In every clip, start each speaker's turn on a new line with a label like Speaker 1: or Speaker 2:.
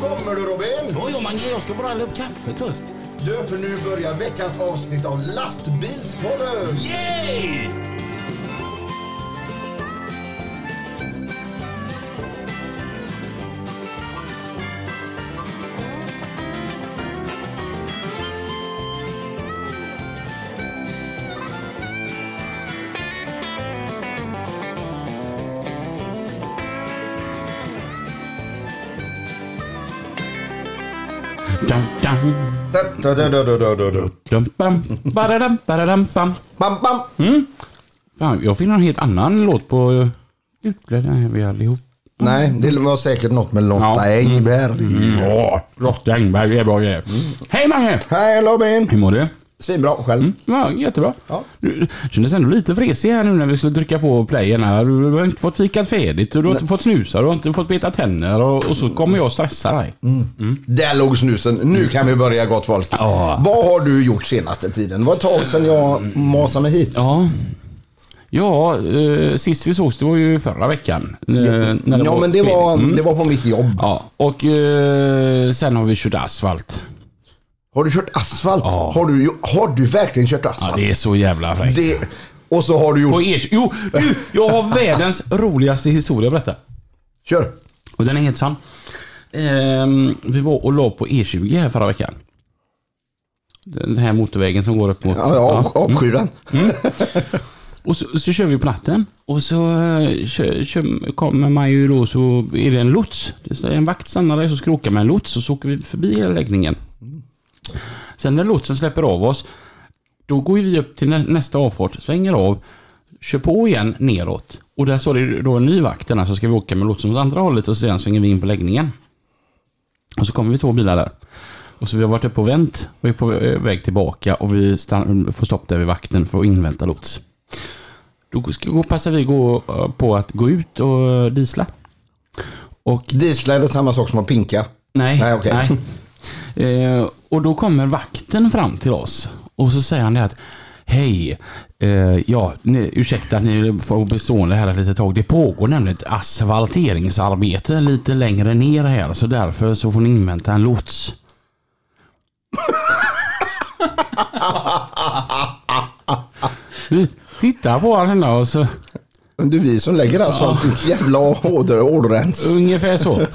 Speaker 1: Kommer du Robin?
Speaker 2: Jo, jo, Mange, jag ska bara hälla upp kaffe först.
Speaker 1: Du, för nu börjar veckans avsnitt av Lastbilspodden!
Speaker 2: Yay! Dum, dum, dum, bam, badadam, badadam, bam.
Speaker 1: Bam, bam!
Speaker 2: Fan, jag fick en helt annan låt på eh, utklädda här vi allihop.
Speaker 1: Nej, det var säkert något med Lotta
Speaker 2: Mm.
Speaker 1: Engberg.
Speaker 2: Ja, Lotta Engberg är bra grejer. Mm. Hej Mange!
Speaker 1: Hej Robin!
Speaker 2: Hur mår du?
Speaker 1: Svinbra, själv?
Speaker 2: Ja, jättebra.
Speaker 1: Ja.
Speaker 2: Du kändes ändå lite fresig här nu när vi skulle trycka på playen här. Du har inte fått fikat färdigt, och du har inte fått snusa, du har inte fått beta tänder och, och så kommer jag och stressar dig.
Speaker 1: Där låg snusen. Nu kan vi börja gott folk.
Speaker 2: Mm. Ja. Mm.
Speaker 1: Vad har du gjort senaste tiden? Det var ett tag sedan jag masade mig hit.
Speaker 2: Ja. Ja, eh, sist vi sågs det var ju förra veckan. Eh, när
Speaker 1: ja, men det var,
Speaker 2: Mm.
Speaker 1: det var på mitt jobb.
Speaker 2: Ja, och eh, sen har vi kört asfalt.
Speaker 1: Har du kört asfalt? Har, du, ju- har du verkligen kört asfalt?
Speaker 2: Ja, det är så jävla fräckt.
Speaker 1: det... Och så har du
Speaker 2: På
Speaker 1: gjort...
Speaker 2: er... Jo, du! Jag har världens roligaste historia att berätta.
Speaker 1: Kör!
Speaker 2: Och den är helt sann. Ehm, vi var och la på E20 här förra veckan. Den här motorvägen som går upp mot...
Speaker 1: Ja, jag av- avskyr den.
Speaker 2: Och så, så kör vi på natten. Och så eh, kör, kör, kommer man ju då så är det en lots. Det är en vakt stannar där så ska åka med en lots och så åker vi förbi hela läggningen. Sen när lotsen släpper av oss, då går ju vi upp till nä- nästa avfart, svänger av, kör på igen neråt. Och där står det då en ny vakt där, så ska vi åka med lotsen åt andra hållet och sedan svänger vi in på läggningen. Och så kommer vi två bilar där. Och så vi har varit uppe och vänt och är på eh, väg tillbaka och vi stann- eh, får stopp där vid vakten för att invänta lots. Då ska- då passar vi gå eh, på att gå ut och eh, diesla. Och
Speaker 1: Diesla är det samma sak som att pinka.
Speaker 2: nej.
Speaker 1: Nej, okej.
Speaker 2: nej. Eh, och då kommer vakten fram till oss och så säger han det att Hej, eh, ja, ni, ursäkta att ni får bli stående här ett litet tag. Det pågår nämligen ett asfalteringsarbete lite längre ner här så därför så får ni invänta en lots. Vi tittar på varandra och så
Speaker 1: Men Det är vi som lägger asfalt. Ditt jävla åder- åderrens.
Speaker 2: Ungefär så.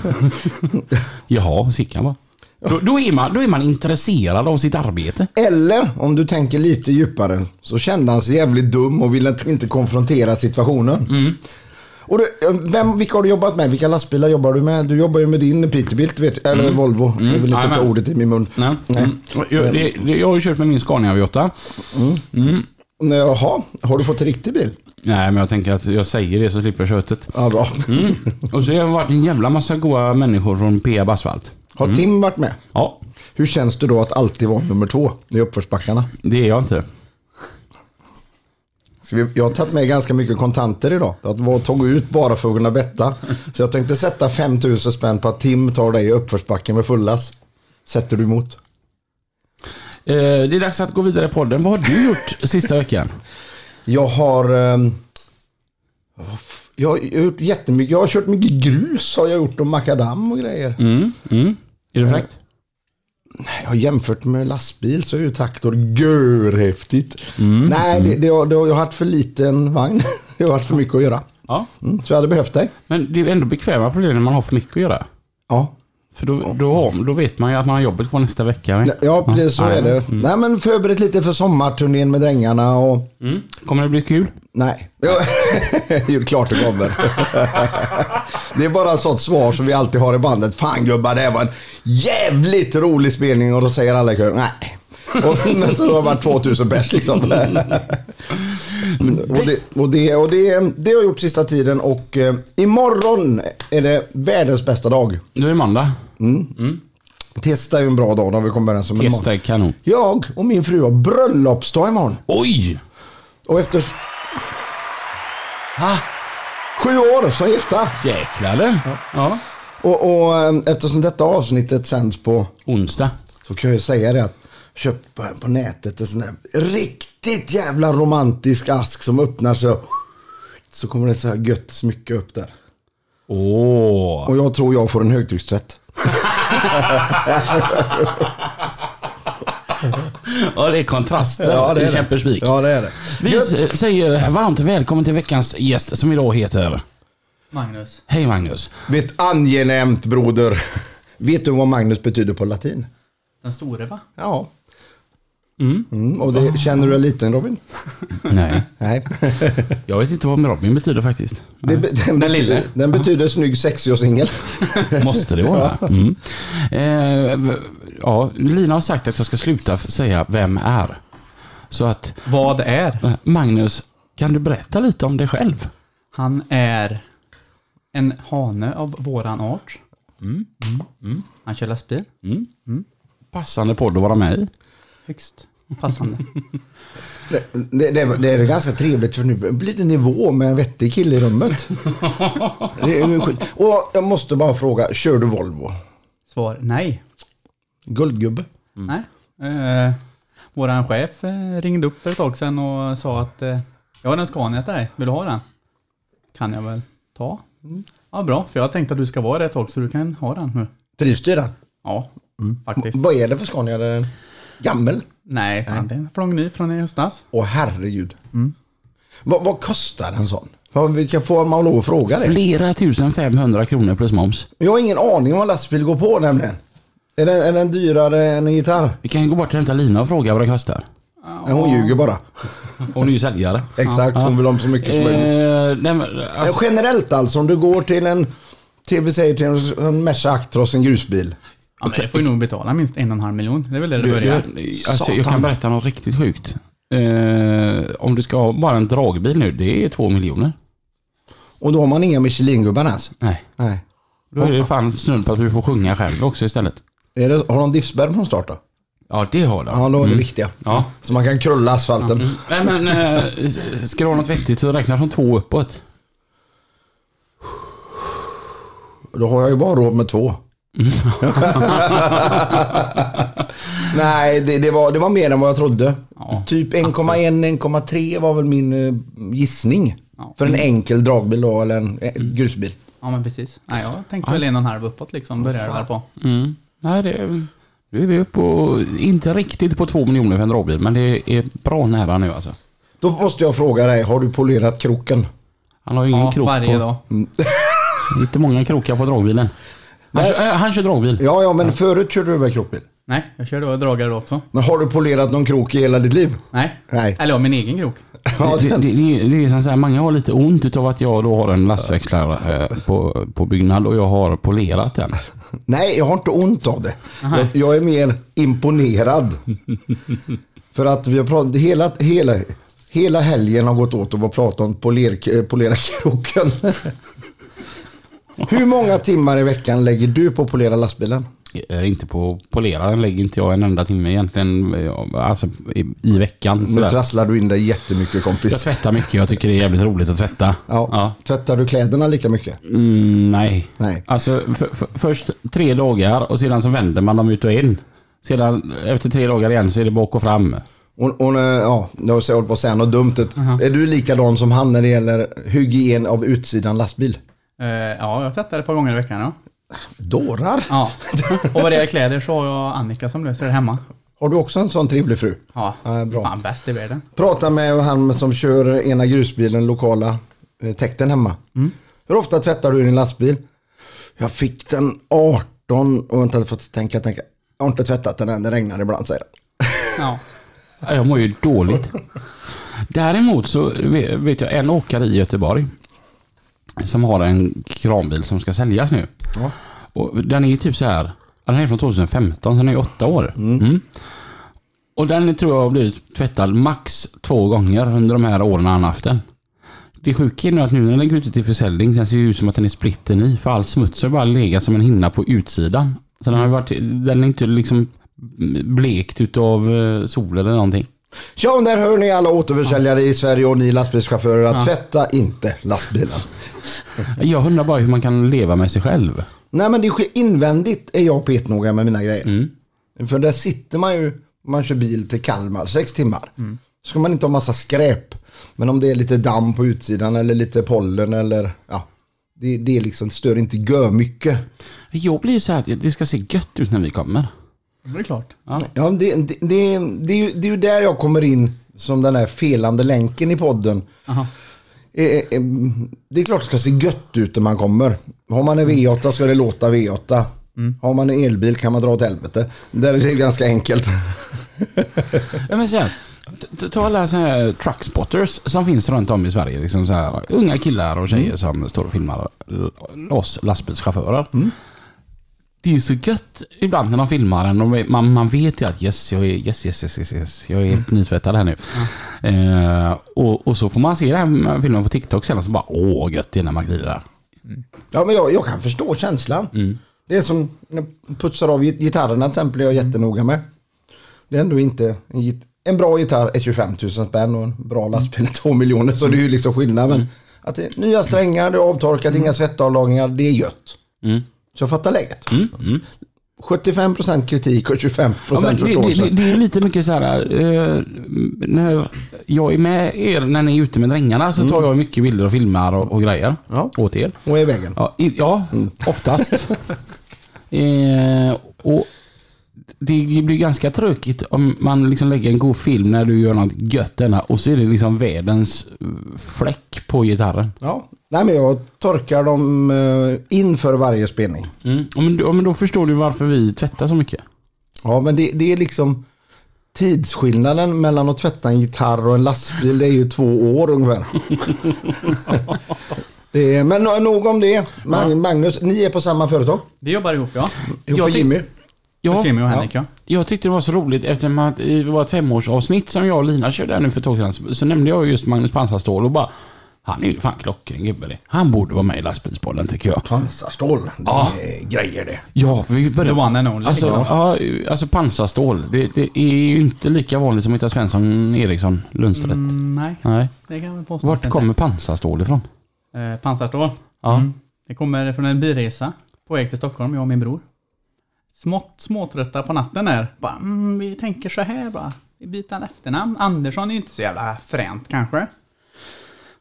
Speaker 2: Jaha, Sickan va? Då, då, är man, då är man intresserad av sitt arbete.
Speaker 1: Eller om du tänker lite djupare så kände han sig jävligt dum och ville inte konfrontera situationen. Och du, vem, vilka har du jobbat med? Vilka lastbilar jobbar du med? Du jobbar ju med din Peterbilt, vet, eller Volvo. Jag vill inte ta
Speaker 2: Jajamän.
Speaker 1: ordet i min mun.
Speaker 2: Mm. Nej. Mm. Jag, det, det, jag har ju kört med min Scania V8.
Speaker 1: Nej, eh, Jaha, har du fått en riktig bil?
Speaker 2: Nej, men jag tänker att jag säger det så slipper jag köttet.
Speaker 1: Ja, bra.
Speaker 2: Mm. Och så har jag varit en jävla massa goa människor från Peab Asfalt.
Speaker 1: Har
Speaker 2: Mm.
Speaker 1: Tim varit med?
Speaker 2: Ja,
Speaker 1: Hur känns det då att alltid vara nummer två i uppförsbackarna?
Speaker 2: det är jag inte.
Speaker 1: Så vi- Jag har tagit med ganska mycket kontanter idag. Jag var- tog ut bara för att kunna betta. Så jag tänkte sätta 5000 spänn på att Tim tar dig i uppförsbacken med fullas. Sätter du emot?
Speaker 2: Eh, det är dags att gå vidare i podden. Vad har du gjort sista veckan?
Speaker 1: Jag har... ehm, vad f- Jag har gjort jättemycket. Jag har kört mycket grus har jag gjort och makadam och grejer.
Speaker 2: Mm. Mm. Är det fräckt?
Speaker 1: Jag har jämfört med lastbil så är ju traktor görhäftigt. Nej, det, det, har- det, har- jag har haft för liten vagn. Jag har haft för mycket att göra.
Speaker 2: Ja.
Speaker 1: Mm, så jag hade behövt dig.
Speaker 2: Men det är ändå bekväma problem när man har för mycket att göra.
Speaker 1: Ja,
Speaker 2: För då, då, har- då vet man ju att man har jobbet kvar nästa vecka. va?
Speaker 1: ja Mm. precis så är det. Nej, men förberett lite för sommarturnén med drängarna och...
Speaker 2: Mm. Kommer det bli kul?
Speaker 1: Nej. Jo, klart det kommer. det är bara ett sånt svar som vi alltid har i bandet. Fan gubbar, det här var en jävligt rolig spelning och då säger alla i kören nej. Och, men så har det varit 2000 pers liksom. och det, och, det, och det, det har jag gjort sista tiden och eh, imorgon är det världens bästa dag.
Speaker 2: Nu är det måndag.
Speaker 1: Testa är ju en bra dag, då har vi kommit överens om. men
Speaker 2: Testa
Speaker 1: imorgon-
Speaker 2: är kanon.
Speaker 1: Jag och min fru har bröllopsdag imorgon.
Speaker 2: Oj!
Speaker 1: Och efter... Ha? Sju år som gifta.
Speaker 2: Jäklar du. Ja.
Speaker 1: Och, och eh, eftersom detta avsnittet sänds på
Speaker 2: Onsdag.
Speaker 1: så kan jag ju säga det att jag köpte på- på nätet en sån här riktigt jävla romantisk ask som öppnar sig. och- Så kommer det så här gött smycke upp där.
Speaker 2: Åh.
Speaker 1: Och Och jag tror jag får en högtryckstvätt.
Speaker 2: Ja, det är kontrasten i Kämpersvik.
Speaker 1: Ja, det är det.
Speaker 2: Vi s- säger varmt välkommen till veckans gäst som idag heter...
Speaker 3: Magnus.
Speaker 2: Hej Magnus.
Speaker 1: Vet, angenämt broder. Vet du vad Magnus betyder på latin?
Speaker 3: Den store va?
Speaker 1: Ja. Mm, och det, känner du en liten Robin?
Speaker 2: Nej,
Speaker 1: Nej.
Speaker 2: jag vet inte vad Robin betyder faktiskt.
Speaker 1: Det, be- den,
Speaker 3: Den lille.
Speaker 1: betyder, den betyder snygg, sexig och singel.
Speaker 2: Måste det vara? Mm. Eh, v- ja, Lina har sagt att jag ska sluta f- säga vem är. Så att
Speaker 3: Vad är?
Speaker 2: eh, Magnus, kan du berätta lite om dig själv?
Speaker 3: Han är en hane av våran art. Mm. Han kör lastbil.
Speaker 2: Passande podd att vara med i.
Speaker 3: Högst passande.
Speaker 1: Det, det, det, det är ganska trevligt för nu blir det nivå med en vettig kille i rummet. Det är ju skit. Och jag måste bara fråga, kör du Volvo?
Speaker 3: Svar nej.
Speaker 1: Guldgubbe?
Speaker 3: Nej. Eh, våran chef eh, ringde upp för ett tag sedan och sa att eh, jag har en Scania till dig. Vill du ha den? Kan jag väl ta? Mm. Ja, bra. För jag tänkte att du ska vara där ett tag så du kan ha den nu.
Speaker 1: Trivs du i den?
Speaker 3: Ja, faktiskt.
Speaker 1: Vad är det för Scania? Är det en gammel?
Speaker 3: Nej, fan, den flög ny från i höstas.
Speaker 1: Åh herregud. Vad, vad kostar en sån? Vad- Vilka får man lov att fråga det?
Speaker 2: Flera tusen 500 kronor plus moms.
Speaker 1: Jag har ingen aning om vad lastbil går på nämligen. Är den, är den dyrare än en gitarr?
Speaker 2: Vi kan gå bort och hämta Lina och fråga vad det kostar.
Speaker 1: Nej, Hon ljuger bara.
Speaker 2: Hon är ju säljare.
Speaker 1: Exakt, hon vill ha så mycket som
Speaker 2: Eh,
Speaker 1: möjligt.
Speaker 2: nej, men,
Speaker 1: Men
Speaker 2: alltså,
Speaker 1: Generellt alltså, om du går till en, till, vi säger till en, en Merca Actros, en grusbil.
Speaker 3: Ja, men det får ju nog betala minst en och en halv miljon. Det är väl där det
Speaker 2: du, du,
Speaker 3: börjar.
Speaker 2: alltså, jag kan
Speaker 1: Satan.
Speaker 2: berätta något riktigt sjukt. Eh, om du ska ha bara en dragbil nu, det är två miljoner.
Speaker 1: Och då har man inga Michelin-gubbar ens.
Speaker 2: Nej.
Speaker 1: Nej.
Speaker 2: Då är det fan snudd på att du får sjunga själv också istället.
Speaker 1: Är det, har de diffsbär från start då?
Speaker 2: Ja, det har du.
Speaker 1: Ja, då är det viktiga.
Speaker 2: Mm. Ja.
Speaker 1: Så man kan krulla asfalten.
Speaker 2: Nej, men eh, s- ska du ha något vettigt så räkna från två uppåt.
Speaker 1: Då har jag ju bara råd med två. Nej, det, det, var, det var mer än vad jag trodde. typ 1,1-1,3 var väl min eh, gissning.
Speaker 3: Ja.
Speaker 1: För en enkel dragbil då, eller en eh, grusbil.
Speaker 3: Ja men precis. Nej, jag tänkte väl en och en halv uppåt liksom, börjar det väl på.
Speaker 2: Nej, det... Nu är vi uppe på, inte riktigt på två miljoner för en dragbil, men det är bra nära nu alltså.
Speaker 1: Då måste jag fråga dig, har du polerat kroken?
Speaker 2: Han har ju ingen
Speaker 3: Ja,
Speaker 2: krok
Speaker 3: varje
Speaker 2: på, Mm.
Speaker 3: dag.
Speaker 2: Inte många krokar på dragbilen. Han, kör, eh, han kör dragbil.
Speaker 1: Ja, ja, men förut körde du väl krokbil?
Speaker 3: Nej, jag kör då dragare då också.
Speaker 1: Men har du polerat någon krok i hela ditt liv?
Speaker 3: Nej.
Speaker 1: Nej.
Speaker 3: Eller ja, min egen krok.
Speaker 1: Ja,
Speaker 2: Det, det,
Speaker 1: den-
Speaker 2: det, det är som så här, många har lite ont utav att jag då har en lastväxlare eh, på, på byggnad och jag har polerat den.
Speaker 1: Nej, jag har inte ont av det. Jag, jag är mer imponerad. För att vi har pratat, hela, hela, hela helgen har gått åt att bara prata om poler, eh, polera kroken. Hur många timmar i veckan lägger du på att polera lastbilen?
Speaker 2: Eh, Inte på poleraren lägger inte jag en enda timme egentligen, eh, alltså i, i veckan.
Speaker 1: Nu
Speaker 2: sådär.
Speaker 1: trasslar du in dig jättemycket
Speaker 2: Jag
Speaker 1: kompis.
Speaker 2: tvättar mycket, jag tycker det är jävligt roligt att tvätta.
Speaker 1: Ja. Tvättar du kläderna lika mycket?
Speaker 2: Mm, nej.
Speaker 1: Nej.
Speaker 2: Alltså för, för, först tre dagar och sedan så vänder man dem ut och in. Sedan efter tre dagar igen så är det bak och fram.
Speaker 1: Hon, hon, eh, ja, jag har hållit på att säga något dumt. Är du likadan som han när det gäller hygien av utsidan lastbil?
Speaker 3: Eh, ja, jag tvättar ett par gånger i veckan. Ja.
Speaker 1: Dårar?
Speaker 3: ja. Och vad det är kläder så har jag Annika som löser det hemma.
Speaker 1: Har du också en sån trevlig fru?
Speaker 3: Ja,
Speaker 1: Ja, bra.
Speaker 3: fan bäst i världen.
Speaker 1: Prata med han som kör ena grusbilen, lokala eh, täkten hemma. Hur ofta tvättar du din lastbil? Jag fick den 18 och inte hade fått tänka, tänka. Jag har inte tvättat den än, det regnar ibland säger han.
Speaker 3: Ja.
Speaker 2: Ja, Jag mår ju dåligt. Däremot så ve- vet jag en åkare i Göteborg som har en kranbil som ska säljas nu.
Speaker 1: Ja.
Speaker 2: Och den är typ så här, ja, den är från 2015 så den är åtta år. Mm. Och den tror jag har blivit tvättad max två gånger under de här åren han haft den. Det sjuka är nu att nu när den är ute till försäljning den ser ju ut som att den är splitten i för all smuts har bara legat som en hinna på utsidan. Så den har ju varit, den är inte liksom blekt utav eh, sol eller någonting.
Speaker 1: Ja, där hör ni alla återförsäljare i Sverige och ni lastbilschaufförer att tvätta inte lastbilen.
Speaker 2: Jag undrar bara hur man kan leva med sig själv.
Speaker 1: Nej men det sker invändigt är jag petnoga med mina grejer. För där sitter man ju, man kör bil till Kalmar, sex timmar. Ska man inte ha massa skräp. Men om det är lite damm på utsidan eller lite pollen eller ja. Det, det liksom stör inte gör mycket.
Speaker 2: Jag blir ju så här att det ska se gött ut när vi kommer.
Speaker 3: Det är klart.
Speaker 1: Ja, men det, det, det, det, är ju, det är ju där jag kommer in som den här felande länken i podden.
Speaker 3: Aha.
Speaker 1: Eh, eh, eh, Det är klart det ska se gött ut när man kommer. Har man en V8 ska det låta V8. Har man en elbil kan man dra åt helvete. Där är det ganska enkelt.
Speaker 2: Ja, men så här, t- t- ta alla så här truckspotters som finns runt om i Sverige. Liksom så här, unga killar och tjejer som står och filmar l- oss lastbilschaufförer. Det är så gött ibland när de filmar en. och Man, man vet ju att yes, jag är, yes, yes, yes, yes, yes. Jag är helt nytvättad här nu. Eh, och, och så får man se den här filmen på TikTok sen och så bara åh gött det är när man glider.
Speaker 1: Ja, men jag, jag kan förstå känslan.
Speaker 2: Mm.
Speaker 1: Det är som när jag putsar av git- gitarrerna till exempel, är jag
Speaker 2: Mm.
Speaker 1: jättenoga med. Det är ändå inte... En, git- en bra gitarr är 25 000 spänn och en
Speaker 2: Mm.
Speaker 1: bra lastbil är 2 miljoner. Så det är ju liksom skillnad. Men att det är nya strängar, det är avtorkat,
Speaker 2: Mm.
Speaker 1: inga svettavlagringar, det är gött. Så jag fattar läget.
Speaker 2: Mm.
Speaker 1: 75% kritik och 25%
Speaker 2: Ja, men det, det,
Speaker 1: förståelse.
Speaker 2: det, det är lite mycket så här. Eh, när jag är med er när ni är ute med drängarna så tar jag mycket bilder och filmar och, och grejer
Speaker 1: Mm. Ja. Mm.
Speaker 2: åt er.
Speaker 1: Och i vägen.
Speaker 2: Ja, i, ja oftast. eh, och det blir ganska tråkigt om man liksom lägger en god film när du gör något gött denna och så är det liksom världens eh, fläck på gitarren.
Speaker 1: Ja. Nej, men jag torkar dem eh, inför varje spelning.
Speaker 2: Ja, men, ja, men då förstår du varför vi tvättar så mycket.
Speaker 1: Ja, men det, det är liksom tidsskillnaden mellan att tvätta en gitarr och en lastbil. Det är ju två år ungefär. det är, men no- nog om det. Mag- Magnus, ni är på samma företag?
Speaker 3: Vi jobbar ihop ja.
Speaker 1: Jo,
Speaker 2: Jag
Speaker 1: för
Speaker 2: ty-
Speaker 1: Jimmy.
Speaker 2: Ja.
Speaker 3: För Jimmy och Henrik ja.
Speaker 2: Jag tyckte det var så roligt eftersom att i vårt femårsavsnitt som jag och Lina körde här nu för ett tag sedan så- så nämnde jag just Magnus Pansarstål och bara han är ju fan klockren gubbe det. Han borde vara med i lastbilspodden tycker jag.
Speaker 1: Pansarstål. Det
Speaker 2: Ja.
Speaker 1: är grejer det.
Speaker 2: Ja, för vi
Speaker 3: The
Speaker 2: började...
Speaker 3: one and only.
Speaker 2: Alltså,
Speaker 3: liksom.
Speaker 2: ja. alltså pansarstål. Det, det är ju inte lika vanligt som att hitta Svensson, Eriksson, Lundstedt.
Speaker 3: Mm, nej,
Speaker 2: Nej.
Speaker 3: det kan vi påstå. att det
Speaker 2: Vart
Speaker 3: inte
Speaker 2: kommer pansarstål ifrån?
Speaker 3: är. Eh, pansarstål.
Speaker 2: Ja.
Speaker 3: Mm. Det kommer från en bilresa på väg till Stockholm, jag och min bror. Smått småtrötta på natten här. Bara, mm, vi tänker så här bara. Vi byter efternamn. Andersson är ju inte så jävla fränt kanske.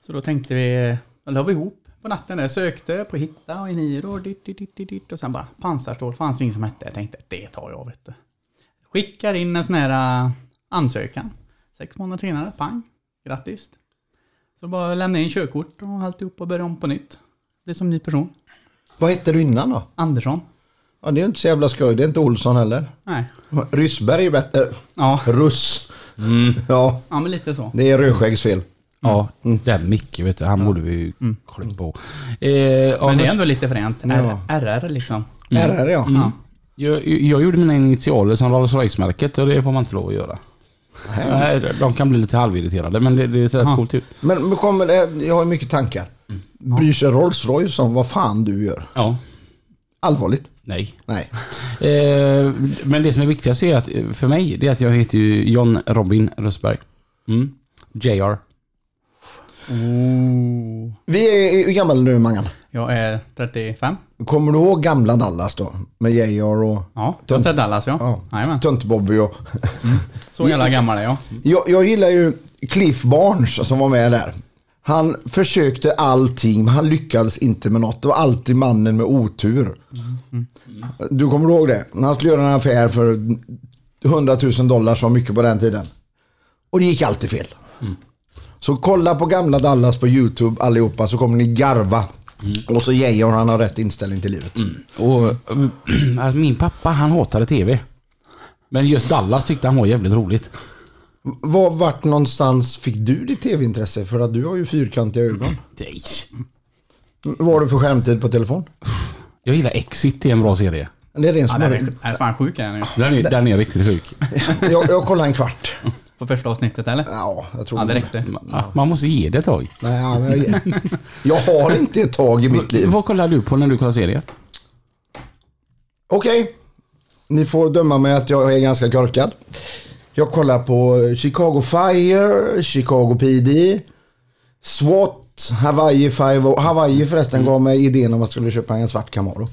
Speaker 3: Så då tänkte vi, då la vi ihop på natten där. Sökte på Hitta och Eniro. Dit, dit, dit, dit, dit, och sen bara pansarstål. Fanns ingen som hette. Jag tänkte, det tar jag vet du. Skickar in en sån här äh, ansökan. Sex månader senare, pang. Grattis. Så bara lämna in körkort och alltihop och börja om på nytt. Bli som ny person.
Speaker 1: Vad hette du innan då?
Speaker 3: Andersson?
Speaker 1: Ja, det är ju inte så jävla skoj. Det är inte Olsson heller.
Speaker 3: Nej.
Speaker 1: Ryssberg är bättre.
Speaker 3: Ja,
Speaker 1: Russ. Ja,
Speaker 3: ja men lite så.
Speaker 1: det är Rödskäggsfel.
Speaker 2: Ja, den Micke vet du, han borde vi ju kolla på. Eh, ja,
Speaker 3: Men det är
Speaker 2: Mm. men-
Speaker 3: ändå lite fränt.
Speaker 1: Ja.
Speaker 3: R- RR liksom.
Speaker 1: RR ja.
Speaker 3: Ja.
Speaker 2: jag, jag gjorde mina initialer som Rolls Royce-märket och det får man inte lov att göra. Nej, de kan bli lite halvirriterade men det, det ser rätt
Speaker 3: Ja.
Speaker 2: coolt typ. ut.
Speaker 1: Men men kommer det, jag har mycket tankar. Bryr sig Rolls Royce om vad fan du gör?
Speaker 2: Ja,
Speaker 1: Allvarligt?
Speaker 2: nej.
Speaker 1: Nej.
Speaker 2: Eh, men det som är viktigast är att, eh, för mig, det är att jag heter ju John Robin Rösberg. Mm. JR.
Speaker 3: Oh.
Speaker 1: Vi är hur gammal är du Mangan?
Speaker 3: Jag är 35.
Speaker 1: Kommer du ihåg gamla Dallas då? Med J.R. och
Speaker 3: Ja, jag har sett Dallas ja.
Speaker 1: Ja.
Speaker 3: Jajamän.
Speaker 1: Tönt-Bobby och...
Speaker 3: Så jävla gammal är jag.
Speaker 1: Jag, jag gillar ju Cliff Barnes som var med där. Han försökte allting men han lyckades inte med något. Det var alltid mannen med otur. Du kommer ihåg det? När han skulle göra en affär för 100 000 dollar som var mycket på den tiden. Och det gick alltid fel. Så kolla på gamla Dallas på YouTube allihopa så kommer ni garva. Och så J.R. han har rätt inställning till livet.
Speaker 2: Och alltså, min pappa han hatade TV. Men just Dallas tyckte han var jävligt roligt.
Speaker 1: Var, vart någonstans fick du ditt tv-intresse? För att du har ju fyrkantiga ögon.
Speaker 2: Nej.
Speaker 1: Vad har du för skärmtid på telefon?
Speaker 2: Jag gillar Exit, det är en bra serie.
Speaker 1: Det är ren
Speaker 3: Ja, den är,
Speaker 1: smörj.
Speaker 3: den är fan sjuk är den ju.
Speaker 2: Den är, den är riktigt sjuk.
Speaker 1: jag, jag kollar en kvart.
Speaker 3: På första avsnittet eller?
Speaker 1: Ja, jag tror
Speaker 3: Ja, det räckte.
Speaker 2: Ja, Man måste ge det ett tag.
Speaker 1: Nej, ja, men jag, jag har inte ett tag i mitt liv.
Speaker 2: Vad kollar du på när du kollar serier?
Speaker 1: Okej. Ni får döma mig att jag är ganska korkad. Jag kollar på Chicago Fire, Chicago PD, SWAT, Hawaii Five. Hawaii förresten
Speaker 3: Mm.
Speaker 1: gav mig idén om att jag skulle köpa en svart Camaro.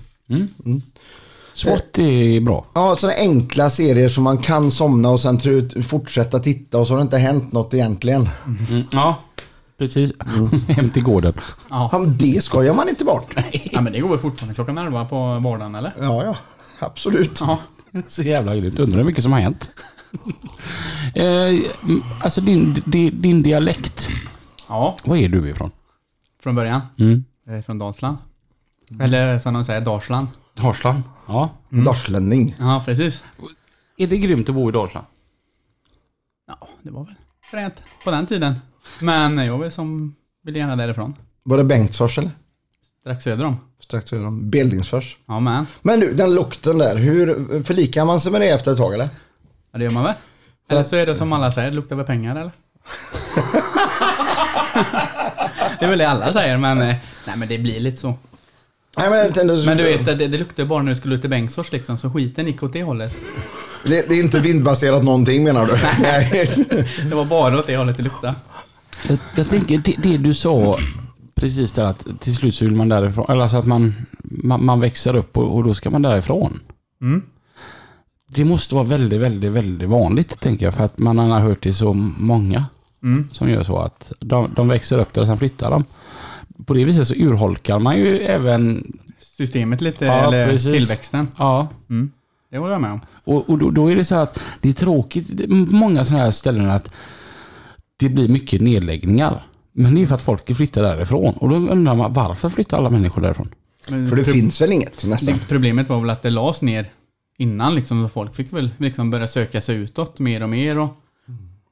Speaker 2: SWAT är bra.
Speaker 1: Ja, sådana enkla serier som man kan
Speaker 3: Mm.
Speaker 1: somna och sen tr- fortsätta titta och så har det inte hänt något egentligen.
Speaker 2: Ja, precis. Hem till gården.
Speaker 1: Ja, men det skojar man inte bort.
Speaker 3: Ja, men det går väl fortfarande klockan 11 på vardagen eller?
Speaker 1: Ja, ja. Absolut.
Speaker 3: Ja.
Speaker 2: Så jävla grymt. Undrar hur mycket som har hänt. eh, m- alltså din, din, din dialekt.
Speaker 3: Ja,
Speaker 2: Var är du ifrån?
Speaker 3: från början.
Speaker 2: Mm.
Speaker 3: Jag är från Dalsland. Eller som de säger, Dalsland.
Speaker 2: Dalsland. Ja.
Speaker 3: Mm.
Speaker 1: Norslänning.
Speaker 3: Ja, precis.
Speaker 2: Är det grymt att bo i Dalsland?
Speaker 3: Ja, det var väl fränt på den tiden. Men jag var som ville gärna därifrån.
Speaker 1: Var det Bengtsfors eller?
Speaker 3: Strax söder om.
Speaker 1: Strax söder om Billingsfors.
Speaker 3: Ja, men.
Speaker 1: Men du, den lukten där. Hur förlikar man sig med det efter ett tag eller?
Speaker 3: Ja, det gör man väl? Eller så är det som alla säger, det luktar väl pengar eller? det är väl det alla säger, men eh, nej men det blir lite så.
Speaker 1: Nej, men, jag tänkte-
Speaker 3: Men du vet, det, det luktade bara när du skulle ut till Bengtsfors liksom, så skiten gick åt det hållet.
Speaker 1: Det, det är inte vindbaserat någonting menar du? Nej.
Speaker 3: Det var bara åt det hållet det luktade.
Speaker 2: Jag, jag tänker det, det du sa precis där att till slut så vill man därifrån. Eller alltså att man, man, man växer upp och, och då ska man därifrån.
Speaker 3: Mm.
Speaker 2: Det måste vara väldigt, väldigt, väldigt vanligt tänker jag. För att man har hört det så många
Speaker 3: Mm.
Speaker 2: som gör så att de, de växer upp där och sen flyttar de. På det viset så urholkar man ju även,
Speaker 3: Systemet lite,
Speaker 2: Ja,
Speaker 3: eller
Speaker 2: precis.
Speaker 3: tillväxten.
Speaker 2: ja,
Speaker 3: Mm. Det håller jag med om.
Speaker 2: Och, och då, då är det så att det är tråkigt det är många sådana här ställen att det blir mycket nedläggningar. Men det är ju för att folk flyttar därifrån. Och då undrar man varför flyttar alla människor därifrån?
Speaker 3: Men typ-
Speaker 1: För det
Speaker 3: pro-
Speaker 1: finns väl inget nästan?
Speaker 3: det- problemet var väl att det lades ner innan liksom, så folk fick väl liksom börja söka sig utåt mer och mer. Och,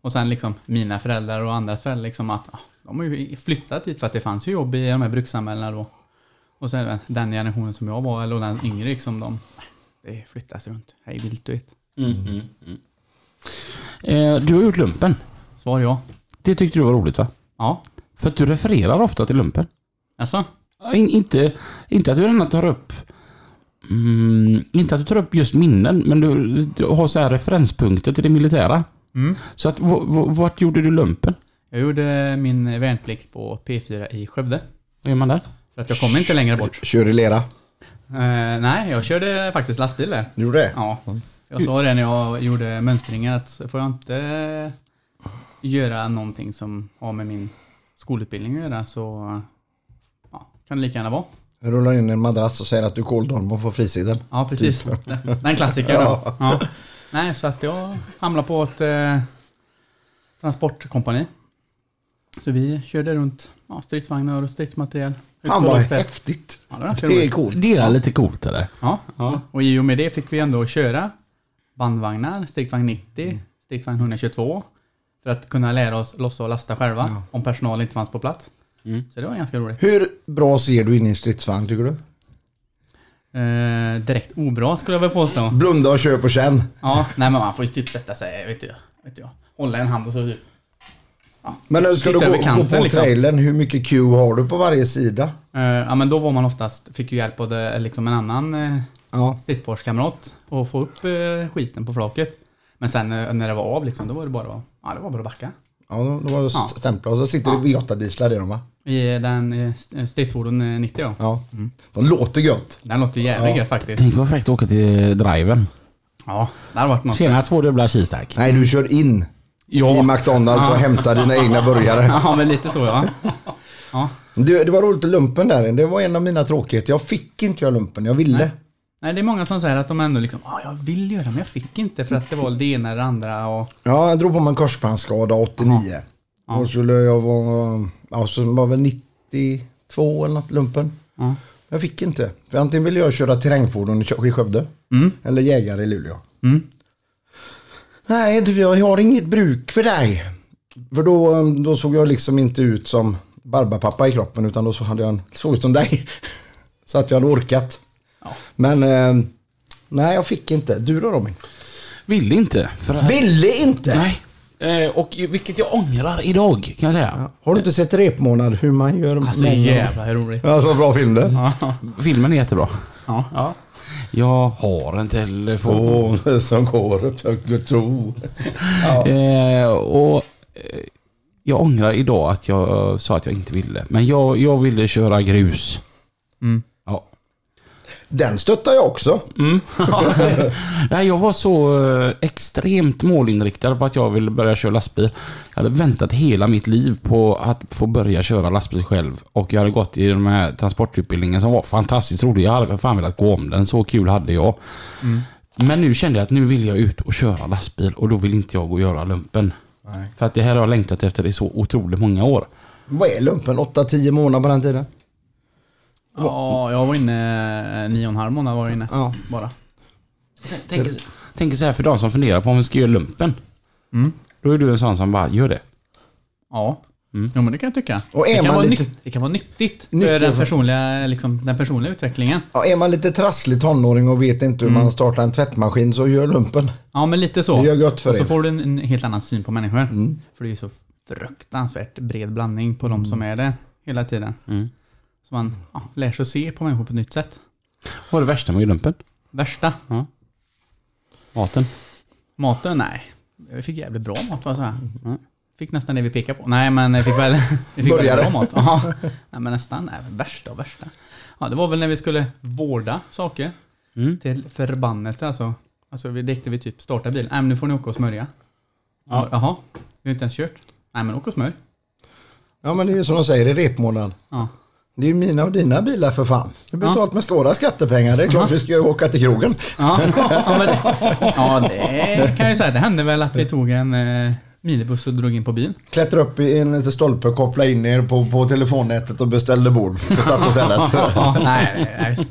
Speaker 3: och sen liksom mina föräldrar och andras föräldrar liksom att ah, de har ju flyttat hit för att det fanns ju jobb i de här brukssamhällena då. Och så även den generationen som jag var, eller den yngre liksom, de det flyttas runt. Hej vilt du vet.
Speaker 2: Mm, Eh, du har gjort lumpen.
Speaker 3: Svar ja.
Speaker 2: Det tyckte du var roligt va?
Speaker 3: Ja.
Speaker 2: För att du refererar ofta till lumpen.
Speaker 3: Alltså?
Speaker 2: Ja, In, inte, inte att du gärna tar upp Mm, inte att du tar upp just minnen, men du, du har så här referenspunkter till det militära.
Speaker 3: Mm.
Speaker 2: Så att, v, v, vart gjorde du lumpen?
Speaker 3: Jag gjorde min värnplikt på P4 i Skövde.
Speaker 2: Vad gör man där?
Speaker 3: För att jag kom inte längre bort.
Speaker 1: Kör i lera.
Speaker 3: Eh, nej, jag körde faktiskt lastbil där.
Speaker 1: Gjorde det?
Speaker 3: Ja. Jag sa det när jag gjorde mönstringen att får jag inte göra någonting som har med min skolutbildning att göra så ja, kan det lika gärna vara.
Speaker 1: Jag Rullar in en madrass och säger att du kåldolm och får frisidan.
Speaker 3: Ja, precis. Den klassikern. då. Ja. Nej, så att jag hamnade på ett eh, transportkompani. Så vi körde runt ja, stridsvagnar och stridsmateriel. Ut
Speaker 1: Han
Speaker 3: på
Speaker 1: var
Speaker 3: loppet.
Speaker 1: häftigt.
Speaker 3: Ja, det var ganska
Speaker 1: Det är
Speaker 3: roligt.
Speaker 1: coolt.
Speaker 2: Det är lite coolt eller?
Speaker 3: Ja.
Speaker 2: Ja.
Speaker 3: Och i och med det fick vi ändå köra bandvagnar, stridsvagn 90, stridsvagn 122 för att kunna lära oss lossa och lasta själva om personal inte fanns på plats.
Speaker 2: Mm.
Speaker 3: Så det var ganska roligt.
Speaker 1: Hur bra ser du in i en stridsvagn tycker du?
Speaker 3: Eh, direkt obra skulle jag väl påstå.
Speaker 1: Blunda och köp och känn.
Speaker 3: Ja, nej men man får ju typ sätta sig, vet du, vet du hålla en hand och så typ.
Speaker 1: Men nu ska
Speaker 3: Titta
Speaker 1: du gå,
Speaker 3: över
Speaker 1: gå
Speaker 3: kanten,
Speaker 1: på
Speaker 3: liksom.
Speaker 1: trailern, hur mycket Q har du på varje sida?
Speaker 3: Eh, ja men då var man oftast, fick ju hjälp av det, liksom en annan eh,
Speaker 1: Ja.
Speaker 3: stridsparskamrat och få upp eh, skiten på flaket. Men sen eh, när det var av liksom, då var det bara, att- ja det var bara att backa.
Speaker 1: Ja, då då var det
Speaker 3: Ja.
Speaker 1: ja. stämplar. Och så sitter det V8-dieslar i dem va?
Speaker 3: I den eh, st- stridsfordon eh, 90 ja.
Speaker 1: Ja. De låter gött.
Speaker 3: Den låter jävligt gött faktiskt.
Speaker 2: Tänk vad fräckt att åka till driven.
Speaker 3: Ja, det hade varit något.
Speaker 2: Tjena, två dubbla cheesesteak.
Speaker 1: Nej, du kör in i
Speaker 3: Ja.
Speaker 1: McDonalds och hämtar dina egna burgare.
Speaker 3: ja, men lite så ja. ja.
Speaker 1: Du, det var roligt att lumpen där. Det var en av mina tråkigheter. Jag fick inte göra lumpen. Jag ville.
Speaker 3: Nej, det är många som säger att de ändå liksom, ja, jag vill göra men jag fick inte för att det var det ena eller det andra och...
Speaker 1: Ja, jag drog på mig en korsbandsskada 89.
Speaker 3: Ja.
Speaker 1: Då skulle jag vara... Ja, så var väl 92 eller något lumpen.
Speaker 3: Ja.
Speaker 1: Jag fick inte. För antingen ville jag köra terrängfordon i Kö- i Skövde.
Speaker 3: Mm.
Speaker 1: Eller jägare i Luleå.
Speaker 3: Mm.
Speaker 1: Nej, du, jag har inget bruk för dig. För då, eh, då såg jag liksom inte ut som barbapappa i kroppen utan då så hade jag en, såg ut som dig. Så att jag hade orkat.
Speaker 3: Ja.
Speaker 1: Men eh, nej, jag fick inte. Du då Robin?
Speaker 2: Ville inte. För att,
Speaker 1: Ville inte!
Speaker 2: Nej. Eh, och ju- vilket jag ångrar idag kan jag säga.
Speaker 1: Har du inte sett Repmånad hur man gör?
Speaker 3: Alltså jävla hur roligt.
Speaker 1: Ja, så bra film det.
Speaker 3: Ja.
Speaker 2: Filmen är jättebra.
Speaker 3: Ja. ja.
Speaker 2: Jag har en telefon.
Speaker 1: Åh, som går upp högt tro.
Speaker 2: Eh, och eh, jag ångrar idag att jag sa att jag inte ville. Men jag, jag ville köra grus.
Speaker 3: Mm.
Speaker 2: Ja.
Speaker 1: Den stöttar jag också.
Speaker 2: Nej, jag var så eh, extremt målinriktad på att jag ville börja köra lastbil. Jag hade väntat hela mitt liv på att få börja köra lastbil själv. Och jag hade gått i den här transportutbildningen som var fantastiskt rolig. Jag hade fan velat gå om den. Så kul hade jag. Men nu kände jag att nu vill jag ut och köra lastbil och då vill inte jag gå och göra lumpen. För att det här har jag längtat efter i så otroligt många år.
Speaker 1: Vad är lumpen? 8-10 månader på den tiden?
Speaker 3: Ja, jag var inne eh, nio och en halv månad var jag inne.
Speaker 1: Ja.
Speaker 3: Bara.
Speaker 2: Tänk, tänk så här för de som funderar på om vi ska göra lumpen.
Speaker 3: Mm.
Speaker 2: Då är du en sån som bara, gör det.
Speaker 3: Ja.
Speaker 2: Mm.
Speaker 3: Jo men det kan jag tycka.
Speaker 1: Och är
Speaker 3: det, kan
Speaker 1: man
Speaker 3: vara
Speaker 1: lite-
Speaker 3: nytt, det kan vara nyttigt för
Speaker 1: Nyttigt
Speaker 3: den
Speaker 1: för-
Speaker 3: personliga, liksom, den personliga utvecklingen.
Speaker 1: Ja, är man lite trasslig tonåring och vet inte hur
Speaker 3: Mm.
Speaker 1: man startar en tvättmaskin så gör lumpen.
Speaker 3: Ja men lite så.
Speaker 1: Det gör gött för
Speaker 3: Och så
Speaker 1: er. Mm.
Speaker 3: får du en, en helt annan syn på människor. För det är ju så fruktansvärt bred blandning på de
Speaker 1: Mm.
Speaker 3: som är det hela tiden.
Speaker 2: Mm.
Speaker 3: Så man ja, lär sig att se på människor på ett nytt sätt.
Speaker 2: Vad är det värsta med lumpen?
Speaker 3: Värsta.
Speaker 2: Maten.
Speaker 3: Maten? Nej. Vi fick jävligt bra mat va? Så här. Fick nästan det vi pekade på. Nej men vi fick väl vi fick väldigt
Speaker 1: Började.
Speaker 3: bra mat. Ja. Nej men nästan. Nej, men värsta och värsta. Ja, det var väl när vi skulle vårda saker.
Speaker 2: Mm.
Speaker 3: Till förbannelse alltså. Alltså vi lekte vi typ starta bilen. Nej men nu får ni åka och smörja. Ja. Jaha, vi har inte ens kört. Nej men åk och smörj.
Speaker 1: Ja men det är ju som de säger i repmånaden.
Speaker 3: Ja.
Speaker 1: Det är ju mina och dina bilar för fan. Det är betalt med våra skattepengar. Det är klart vi ska ju åka till krogen.
Speaker 3: Ja, ja, men det, ja det kan jag ju säga. Det hände väl att vi tog en eh, minibuss och drog in på bilen.
Speaker 1: Klättra upp i en liten stolpe, koppla in er på, på telefonnätet och beställde bord på Stadshotellet.
Speaker 3: Ja, nej, nej.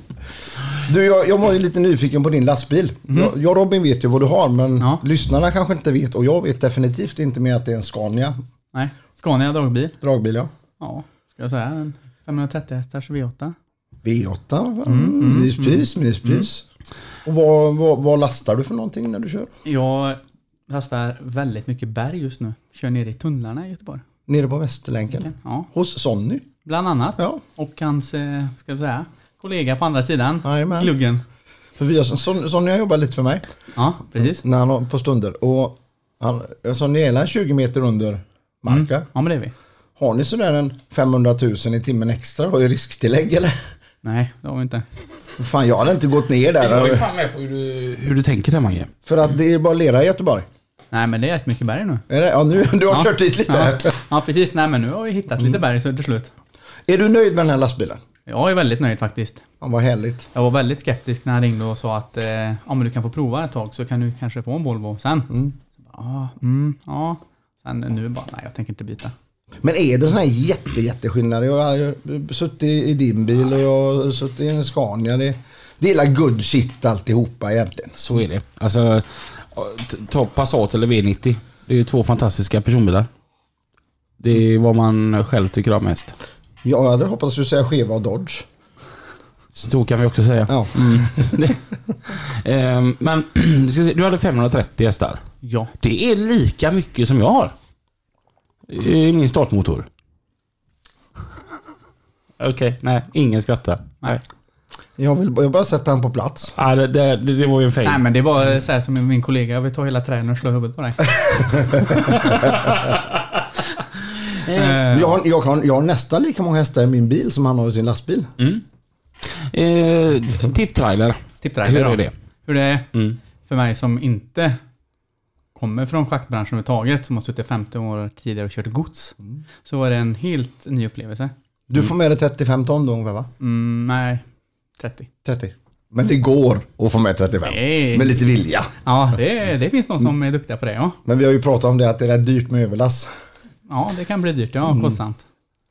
Speaker 1: Du, jag, jag var ju lite nyfiken på din lastbil. Jag, jag och Robin vet ju vad du har men
Speaker 3: Mm. Ja.
Speaker 1: lyssnarna kanske inte vet och jag vet definitivt inte mer att det är en Scania
Speaker 3: nej. Scania dragbil.
Speaker 1: dragbil. Ja.
Speaker 3: Ja, ska jag säga. En 530 hästars V8.
Speaker 1: V8, va?
Speaker 3: Mm,
Speaker 1: myspys, myspys. Och vad, vad, vad lastar du för någonting när du kör?
Speaker 3: Jag lastar väldigt mycket berg just nu. Kör ner i tunnlarna i Göteborg.
Speaker 1: Nere på Västerlänken?
Speaker 3: Ja,
Speaker 1: Hos Sonny?
Speaker 3: bland annat.
Speaker 1: Ja.
Speaker 3: Och hans, eh, ska jag säga, kollega på andra sidan.
Speaker 1: Jajamän.
Speaker 3: Gluggen.
Speaker 1: För vi har, Son, Sonny har jobbat lite för mig
Speaker 3: Ja, precis.
Speaker 1: när han, har- på stunder. Och han, Sonny är 20 meter under marka.
Speaker 3: Ja, men det är vi.
Speaker 1: Har ni sådär en 500 000 i timmen extra då i risktillägg eller?
Speaker 3: Nej, det har vi inte.
Speaker 1: Fan jag hade inte gått ner där.
Speaker 2: fan med på hur du, hur du tänker där Mange.
Speaker 1: För att det är bara lera i Göteborg.
Speaker 3: Nej, men det är jättemycket berg nu.
Speaker 1: Är det? Ja, nu, du har
Speaker 3: Ja.
Speaker 1: kört dit lite.
Speaker 3: Ja, ja precis. Nej, men nu har vi hittat lite berg så till slut.
Speaker 1: Är du nöjd med den här lastbilen?
Speaker 3: Jag är väldigt nöjd faktiskt.
Speaker 1: Ja, vad härligt.
Speaker 3: Jag var väldigt skeptisk när han ringde och sa att eh, ja, men du kan få prova ett tag så kan du kanske få en Volvo sen. Mm. Ja, mm, ja. Sen nu bara, nej jag tänker inte byta.
Speaker 1: Men är det sån här jätte, jätteskillnad? Jag har ju suttit i din bil och jag har suttit i en Scania. Det, det är hela good shit alltihopa egentligen.
Speaker 2: Så är det. Alltså, t- ta Passat eller V90. Det är ju två fantastiska personbilar. Det är vad man själv tycker om mest.
Speaker 1: Jag hade hoppats du säga skeva och Dodge.
Speaker 2: Så kan vi också säga.
Speaker 1: Ja.
Speaker 2: Ehm, men vi ska se, du hade 530 hästar.
Speaker 3: Ja.
Speaker 2: Det är lika mycket som jag har. I min startmotor. Okej, nej. Ingen skrattar. Nej.
Speaker 1: Jag vill jag bara sätta han på plats.
Speaker 2: Nej, det, det, det var ju en fail.
Speaker 3: Nej men det är bara så här som min kollega, jag vill ta hela träden och slå huvudet på dig.
Speaker 1: Jag har, jag, har, jag har nästan lika många hästar i min bil som han har i sin lastbil.
Speaker 2: Eh, Tipptrailer.
Speaker 3: Tipptrailer
Speaker 2: Hur är
Speaker 3: då.
Speaker 2: det? Mm.
Speaker 3: Hur det är för mig som inte kommer från schaktbranschen överhuvudtaget, som har suttit 15 år tidigare och kört gods.
Speaker 2: Mm.
Speaker 3: Så var det en helt ny upplevelse.
Speaker 1: Du får med dig 35 ton då ungefär va?
Speaker 3: Mm, nej, 30.
Speaker 1: 30. Men det går att få med 35.
Speaker 3: Nej.
Speaker 1: Med lite vilja.
Speaker 3: Ja, det, det finns någon
Speaker 2: Mm.
Speaker 3: som är duktiga på det ja.
Speaker 1: Men vi har ju pratat om det att det är rätt dyrt med överlast.
Speaker 3: Ja, det kan bli dyrt. Ja,
Speaker 2: Mm.
Speaker 3: kostsamt.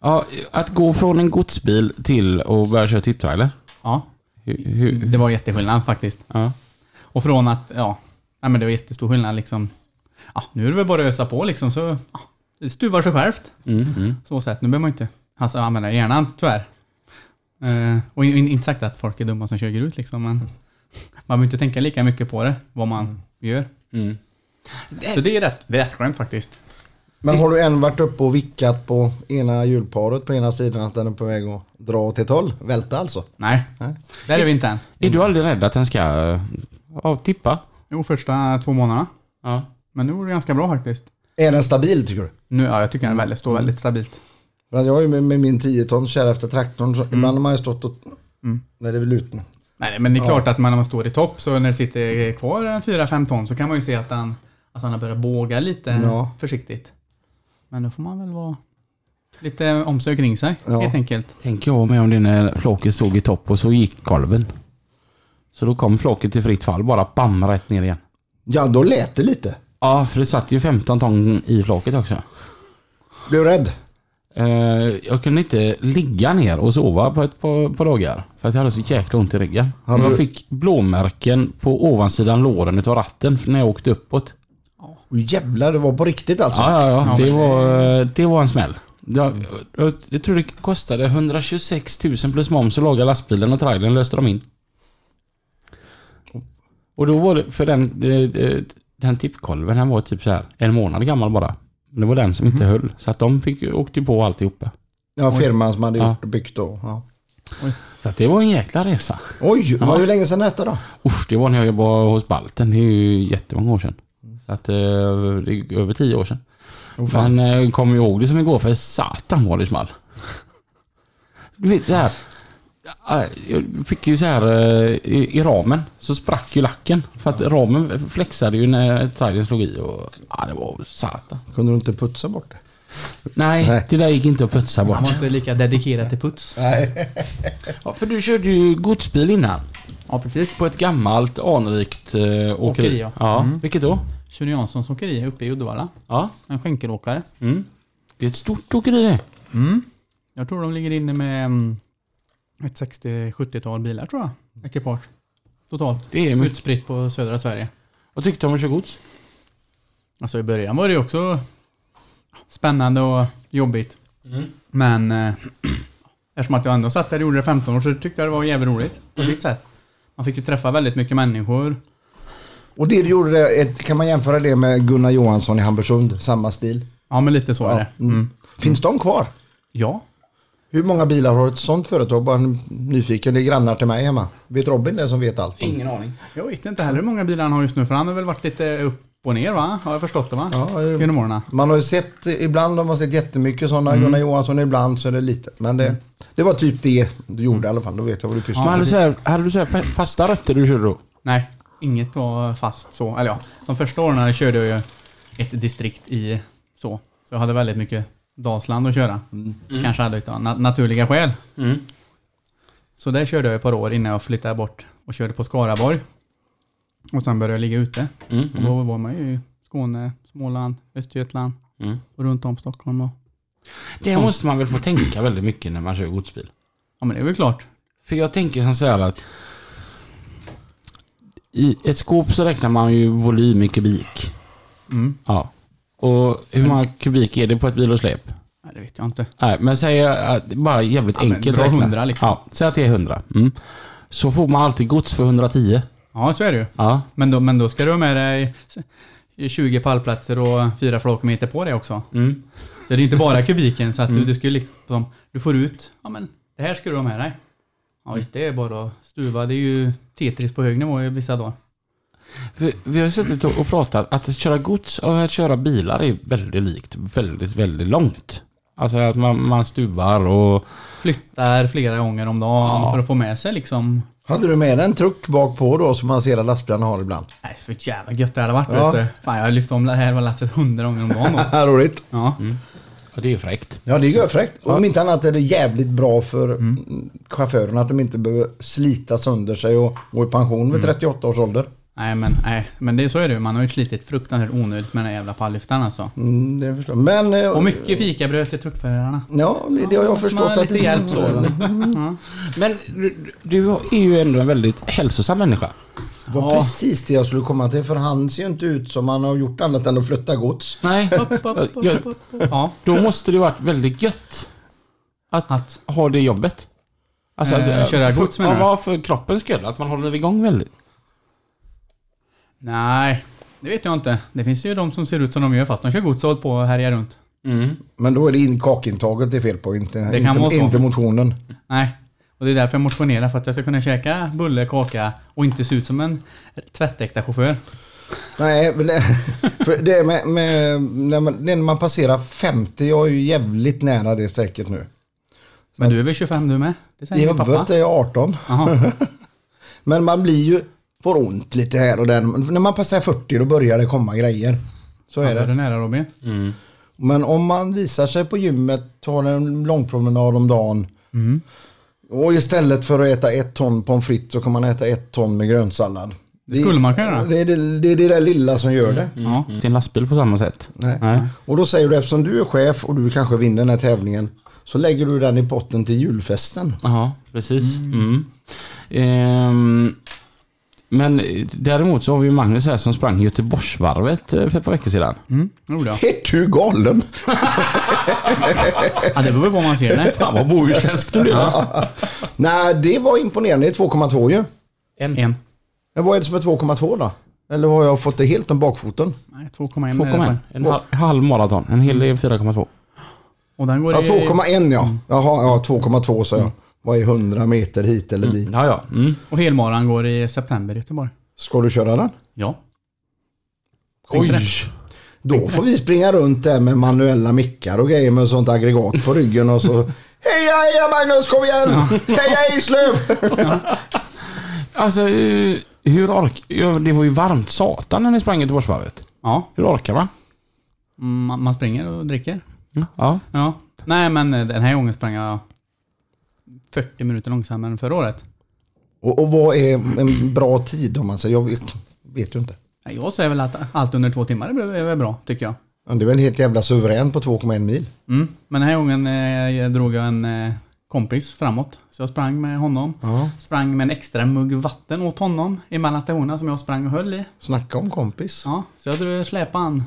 Speaker 2: Ja, att gå från en godsbil till att börja köra tipptrailer.
Speaker 3: Ja,
Speaker 2: Hur, hur,
Speaker 3: det var jätteskillnad faktiskt.
Speaker 2: ja.
Speaker 3: Och från att, ja, nej men det var jättestor skillnad liksom. Ja, nu är det väl bara att ösa på liksom så, ja, det stuvar sig självt.
Speaker 2: Mm, mm.
Speaker 3: Så sätt, nu behöver man inte, alltså använda hjärnan tyvärr. Eh, och in, in, inte sagt att folk är dumma som kör grus liksom, men man behöver inte tänka lika mycket på det, vad man gör.
Speaker 2: Mm.
Speaker 3: Så det är rätt, det är rätt skönt faktiskt.
Speaker 1: Men har du än varit uppe och vickat på ena hjulparet på ena sidan att den är på väg att dra åt ett håll? Välta alltså?
Speaker 3: Nej,
Speaker 1: Nej.
Speaker 3: där är vi inte än.
Speaker 2: Är du aldrig rädd att den ska eh, ja, tippa?
Speaker 3: Jo, första två månaderna.
Speaker 2: Ja.
Speaker 3: Men nu går det ganska bra faktiskt.
Speaker 1: Är den stabil tycker du?
Speaker 3: Nu, ja, jag tycker den väldigt, står väldigt stabilt.
Speaker 1: För att jag är ju med, med min 10 ton kär efter traktorn så ibland har man ju stått och... När det är lutning.
Speaker 3: Nej, men det är klart att man, när man står i topp så när det sitter kvar en 4-5 ton så kan man ju se att han, alltså han har börjat båga lite
Speaker 1: Ja.
Speaker 3: försiktigt. Men då får man väl vara lite omsorg kring sig
Speaker 1: Ja.
Speaker 3: helt enkelt.
Speaker 2: Tänker jag med om det när flocket stod i topp och så gick kolven. Så då kom flocket till fritt fall, bara bam rätt ner igen.
Speaker 1: Ja, då lät det lite.
Speaker 2: Ja, för det satt ju 15 ton i flocket också.
Speaker 1: Blev rädd.
Speaker 2: Eh, jag kunde inte ligga ner och sova på ett par, par dagar. För att jag hade så jäkla ont i ryggen.
Speaker 1: Hade
Speaker 2: jag
Speaker 1: du-
Speaker 2: fick blåmärken på ovansidan låren utav ratten när jag åkte uppåt.
Speaker 1: Och jävlar, det var på riktigt alltså.
Speaker 2: Ja, ja, ja.
Speaker 3: Ja,
Speaker 2: Det
Speaker 3: men-
Speaker 2: var, eh, det var en smäll. Jag, jag, jag tror det kostade 126 000 plus moms att laga lastbilen och trailern löste de in. Och då var det för den, eh, den tippkolven, den var typ så här en månad gammal bara. Det var den som inte höll. Så att de fick, åkte ju på alltihopa.
Speaker 1: Ja, firman som hade
Speaker 2: Ja.
Speaker 1: gjort och byggt då. Ja.
Speaker 2: Så att det var en jäkla resa.
Speaker 1: Oj, det var hur länge sedan detta då?
Speaker 2: Usch, det var när jag jobbade hos Balten. Det är ju jättemånga år sedan. Så att eh, det är över tio år sedan. Fan, eh, kommer ju ihåg det som igår för satan vad det small. Du vet så här. eh, Jag fick ju så här eh, i, i ramen så sprack ju lacken. För att ramen flexade ju när trailern slog i och ja, det var satan.
Speaker 1: Kunde du inte putsa bort det?
Speaker 2: Nej,
Speaker 1: Nej.
Speaker 2: det där gick inte att putsa bort.
Speaker 3: Man var inte lika dedikerad till puts.
Speaker 1: Nej.
Speaker 2: Ja, för du körde ju godsbil innan.
Speaker 3: Ja, precis.
Speaker 2: På ett gammalt anrikt eh, åkeri.
Speaker 3: Åkeri,
Speaker 2: ja.
Speaker 3: ja.
Speaker 2: Vilket då?
Speaker 3: Sune Janssons åkeri uppe i Uddevalla.
Speaker 2: Ja.
Speaker 3: En skänkelåkare.
Speaker 2: Mm. Det är ett stort åkeri det.
Speaker 1: Mm.
Speaker 3: Jag tror de ligger inne med mm, ett 60-70-tal bilar tror jag. Ekipage. Totalt.
Speaker 2: Det är
Speaker 1: Mm.
Speaker 2: mycket.
Speaker 3: Utspritt på södra Sverige.
Speaker 2: Vad tyckte du om att köra gods?
Speaker 3: Alltså i början var det ju också spännande och jobbigt. Men eh, eftersom att jag ändå satt där och gjorde det 15 år så tyckte jag det var jävligt roligt. På sitt sätt. Man fick ju träffa väldigt mycket människor.
Speaker 1: Och det du gjorde, det, ett- kan man jämföra det med Gunnar Johansson i Hamburgsund? Samma stil.
Speaker 3: Ja men lite så är
Speaker 1: Ja.
Speaker 3: det. Mm.
Speaker 1: Finns de kvar?
Speaker 3: Ja.
Speaker 1: Hur många bilar har ett sånt företag? Bara nyfiken, det är grannar till mig hemma. Vet Robin det som vet allt?
Speaker 2: Ingen aning.
Speaker 3: Jag vet inte heller hur många bilar han har just nu för han har väl varit lite upp och ner va? Har jag förstått det va?
Speaker 1: Ja, eh,
Speaker 3: Genom åren.
Speaker 1: man har ju sett, ibland har man sett jättemycket sådana Gunnar Johansson, ibland så är det lite. Men det, det var typ det du gjorde i alla fall, då vet jag vad du pysslar med.
Speaker 2: Men hade, du så här, hade du så här fa- fasta rötter du körde då?
Speaker 3: Nej, inget var fast så. Eller ja, de första åren här körde jag ju ett distrikt i så. Så jag hade väldigt mycket Dalsland att köra.
Speaker 1: Mm.
Speaker 3: Kanske hade jag na- naturliga skäl.
Speaker 2: Mm.
Speaker 3: Så där körde jag ett par år innan jag flyttade bort och körde på Skaraborg. Och sen började jag ligga ute.
Speaker 2: Mm.
Speaker 3: Och då var man ju i Skåne, Småland, Östergötland
Speaker 2: Mm.
Speaker 3: och runt om Stockholm. Och,
Speaker 2: Det måste man väl få tänka väldigt mycket när man kör godsbil.
Speaker 3: ja men det är väl klart.
Speaker 2: För jag tänker som så här att i ett skåp så räknar man ju volym i kubik.
Speaker 3: Mm.
Speaker 2: Ja. Och hur många kubik är det på ett bil och släp?
Speaker 3: Nej, det vet jag inte.
Speaker 2: Nej, men säg att det är bara jävligt
Speaker 3: men
Speaker 2: enkelt
Speaker 3: dra
Speaker 2: räkna.
Speaker 3: 100 liksom.
Speaker 2: Ja, säg att det är 100. Mm. Så får man alltid gods för 110.
Speaker 3: Ja, så är det ju.
Speaker 2: Ja.
Speaker 3: Men då, men då ska du ha med dig s- 20 pallplatser och fyra flakmeter på dig också.
Speaker 2: Mm.
Speaker 3: Så det är inte bara kubiken så att du, du ska ju liksom, du får ut, ja men det här ska du ha med dig. Ja visst, det är bara att stuva. Det är ju Tetris på hög nivå i vissa dagar.
Speaker 2: Vi, vi har ju suttit och och pratat att köra gods och att köra bilar är väldigt likt, väldigt, väldigt långt. Alltså att man, man stuvar och...
Speaker 3: Flyttar flera gånger om dagen
Speaker 2: Ja.
Speaker 3: för att få med sig liksom.
Speaker 1: Hade du med dig en truck bak på då som man ser att lastbilarna har ibland?
Speaker 3: Nej, så jävla gött det hade varit
Speaker 1: Ja.
Speaker 3: vet du. Fan, jag har lyft om det här var lasset hundra gånger om dagen då.
Speaker 1: Roligt.
Speaker 3: Ja.
Speaker 1: Mm.
Speaker 2: Ja, det är ju fräckt.
Speaker 1: Ja, det är ju fräckt. Om inte annat är det jävligt bra för mm. chaufförerna att de inte behöver slita sönder sig och gå i pension vid 38 års ålder.
Speaker 3: Nej men, nej, men det är så är det ju. Man har ju slitit fruktansvärt onödigt med den här jävla pallyftaren alltså.
Speaker 1: Mm, det förstår jag. Men... eh,
Speaker 3: Och mycket fikabröd till truckförarna.
Speaker 1: Ja, det har jag förstått
Speaker 3: Man har
Speaker 1: att...
Speaker 3: lite hjälp så. va? Ja.
Speaker 2: Men du, du är ju ändå en väldigt hälsosam människa.
Speaker 1: Det var
Speaker 3: Ja.
Speaker 1: precis det jag skulle komma till för han ser ju inte ut som han har gjort annat än att flytta gods.
Speaker 2: Nej,
Speaker 3: Upp, upp, upp,
Speaker 2: Ja.
Speaker 3: upp, upp, upp. Ja,
Speaker 2: då måste det ju varit väldigt gött
Speaker 3: att
Speaker 2: att ha det jobbet. Alltså,
Speaker 3: Eh,
Speaker 2: att-
Speaker 3: köra
Speaker 2: för-
Speaker 3: gods, menar
Speaker 2: ja,
Speaker 3: du?
Speaker 2: ja, för kroppens skull. Att man håller igång väldigt.
Speaker 3: Nej, det vet jag inte. Det finns ju de som ser ut som de gör fast de kör gods och håller på och härjar runt.
Speaker 1: Men då är det in, kakintaget det är fel på, inte,
Speaker 3: kan vara
Speaker 1: inte,
Speaker 3: så.
Speaker 1: inte motionen.
Speaker 3: Nej, och det är därför jag motionerar för att jag ska kunna käka bulle, kaka och inte se ut som en tvättäkta chaufför.
Speaker 1: Nej, men det- för det är med, med, när, man, det är när man passerar 50, jag är ju jävligt nära det strecket nu.
Speaker 3: Men du är väl 25 du med? Det säger
Speaker 1: I
Speaker 3: min pappa.
Speaker 1: huvudet är jag 18.
Speaker 3: Jaha.
Speaker 1: Men man blir ju, får ont lite här och där. Men När man passar 40 då börjar det komma grejer. Så är
Speaker 3: Är
Speaker 1: det.
Speaker 3: det nära Robin?
Speaker 1: Men om man visar sig på gymmet, tar en lång promenad om dagen.
Speaker 3: Mm.
Speaker 1: Och istället för att äta ett ton pommes frites så kan man äta ett ton med grönsallad. Det
Speaker 3: skulle man kunna göra. Mm.
Speaker 1: Det är det, det, är det där lilla som gör det.
Speaker 3: Ja.
Speaker 2: Till en lastbil på samma sätt.
Speaker 1: Nej.
Speaker 2: Nej.
Speaker 1: Och då säger du eftersom du är chef och du kanske vinner den här tävlingen. Så lägger du den i potten till julfesten.
Speaker 2: Ja, precis. Mm. Ehm, men däremot så har vi ju Magnus här som sprang Göteborgsvarvet eh, för ett par veckor sedan.
Speaker 3: Mm, det gjorde jag.
Speaker 1: Är du galen?
Speaker 3: Ja, det beror väl på vad man ser det.
Speaker 2: Fan vad bohuslänsk du blev.
Speaker 1: Nej, det var imponerande. Det är 2,2 ju.
Speaker 2: En.
Speaker 3: En.
Speaker 1: Men vad är det som är 2,2 då? Eller har jag fått det helt om bakfoten?
Speaker 3: Nej, 2,1. är det
Speaker 2: 2,1.
Speaker 3: på.
Speaker 2: En halv, Mm. halv maraton. En hel del 4,2.
Speaker 3: Och den går
Speaker 1: Ja,
Speaker 3: i...
Speaker 1: 2,1 ja. Jaha, ja 2,2 sa jag. Vad är 100 meter hit eller dit?
Speaker 2: Ja, ja. Mm.
Speaker 3: Och helmaran går i september i Göteborg.
Speaker 1: Ska du köra den?
Speaker 3: Ja.
Speaker 2: Oj.
Speaker 1: Då får vi springa runt där med manuella mickar och grejer med sånt aggregat på ryggen och så Heja heja Magnus kom igen! Heja Islöv!
Speaker 2: Alltså, eh, hur ork... ja, Det var ju varmt satan när ni sprang Göteborgsvarvet.
Speaker 3: Ja,
Speaker 2: Hur orkar man?
Speaker 3: mm, man, man springer och dricker.
Speaker 2: Ja.
Speaker 3: Ja. Nej, men eh, den här gången sprang jag 40 minuter långsammare än förra året.
Speaker 1: Och, och vad är en bra tid om man säger? Jag vet, vet ju inte.
Speaker 3: Nej, Jag säger väl att allt under två timmar är väl bra, tycker jag.
Speaker 1: Men Det är väl helt jävla suverän på 2,1 mil.
Speaker 3: Mm. Men den här gången eh, jag drog jag en eh, kompis framåt. Så jag sprang med honom.
Speaker 1: Ja.
Speaker 3: Sprang med en extra mugg vatten åt honom emellan stationerna som jag sprang och höll i.
Speaker 1: Snacka om kompis.
Speaker 3: Ja, så jag drog- släpade han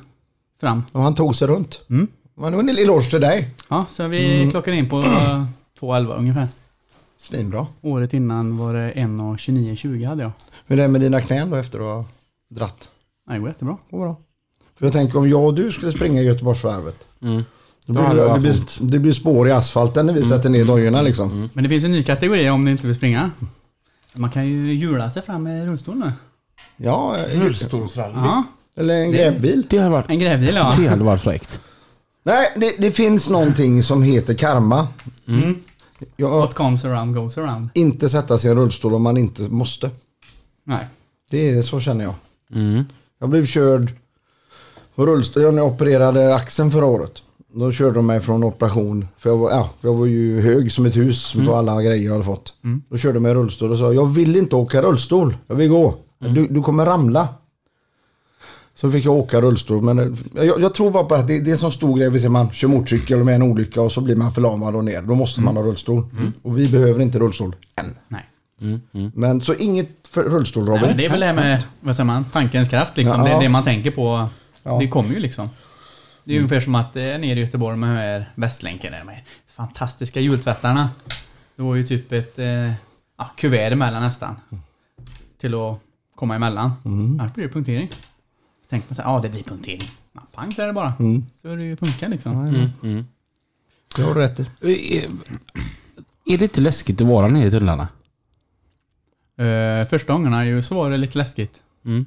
Speaker 3: fram.
Speaker 1: Och han tog sig runt.
Speaker 3: Mm.
Speaker 1: Men det var en eloge till dig.
Speaker 3: Ja, så vi klockade in på eh, 2.11 ungefär.
Speaker 1: Svinbra.
Speaker 3: Året innan var det 1.29.20 hade jag.
Speaker 1: Hur är det med dina knän då efter att ha dratt?
Speaker 3: Ja, Det går jättebra.
Speaker 1: Går bra. För jag tänker om jag och du skulle springa Göteborgsvarvet.
Speaker 2: Mm.
Speaker 1: Då
Speaker 2: Då
Speaker 1: blir
Speaker 2: hade det
Speaker 1: det, det,
Speaker 2: varit
Speaker 1: blir,
Speaker 2: fint.
Speaker 1: det blir spår i asfalten när vi
Speaker 2: Mm.
Speaker 1: sätter ner dojorna liksom.
Speaker 3: Men det finns en ny kategori om ni inte vill springa. Man kan ju hjula sig fram med rullstol nu.
Speaker 1: Ja, eh,
Speaker 4: Rullstolsrally.
Speaker 3: Ja,
Speaker 1: eller en grävbil.
Speaker 2: Det hade varit,
Speaker 3: en grävbil ja.
Speaker 2: det hade varit fräckt.
Speaker 1: Nej, det, det finns någonting som heter karma.
Speaker 3: Mm.
Speaker 1: Jag,
Speaker 3: What comes around goes around.
Speaker 1: inte sätta sig i en rullstol om man inte måste.
Speaker 3: Nej.
Speaker 1: Det är så känner jag.
Speaker 2: Mm.
Speaker 1: Jag blev körd på rullstol när jag opererade axeln förra året. Då körde de mig från operation. För jag var, ja, jag var ju hög som ett hus på alla grejer jag hade fått.
Speaker 3: Mm.
Speaker 1: Då körde de mig i rullstol och sa jag vill inte åka rullstol. Jag vill gå. Du, du kommer ramla. Så fick jag åka rullstol. Men eh, jag, jag tror bara på att det, det är en sån stor grej. Vi ser man kör motorcykel och med en olycka och så blir man förlamad och ner. Då måste man ha rullstol. Och vi behöver inte rullstol än.
Speaker 3: Nej.
Speaker 1: Men så inget för rullstol Robin.
Speaker 3: Nej, men det är väl det här med, vad säger man, tankens kraft liksom.
Speaker 1: Ja.
Speaker 3: Det är det man tänker på.
Speaker 1: Ja. Mm.
Speaker 3: Det kommer ju liksom. Det är ungefär som att eh, nere i Göteborg med de här Västlänken där med fantastiska jultvättarna. Det var ju typ ett eh, ja, kuvert emellan nästan. Till att komma emellan.
Speaker 1: Mm.
Speaker 3: Annars blir det punktering. Tänk man så här, ja det blir punktering. Ja, pang så är det bara.
Speaker 1: Mm.
Speaker 3: Så är det ju punka liksom.
Speaker 2: Mm.
Speaker 1: Det har du rätt i.
Speaker 2: Är- Eh, Är det inte läskigt att vara nere i tunnlarna?
Speaker 1: Mm.
Speaker 3: Eh, första gångerna ju så var det lite läskigt.
Speaker 2: Mm.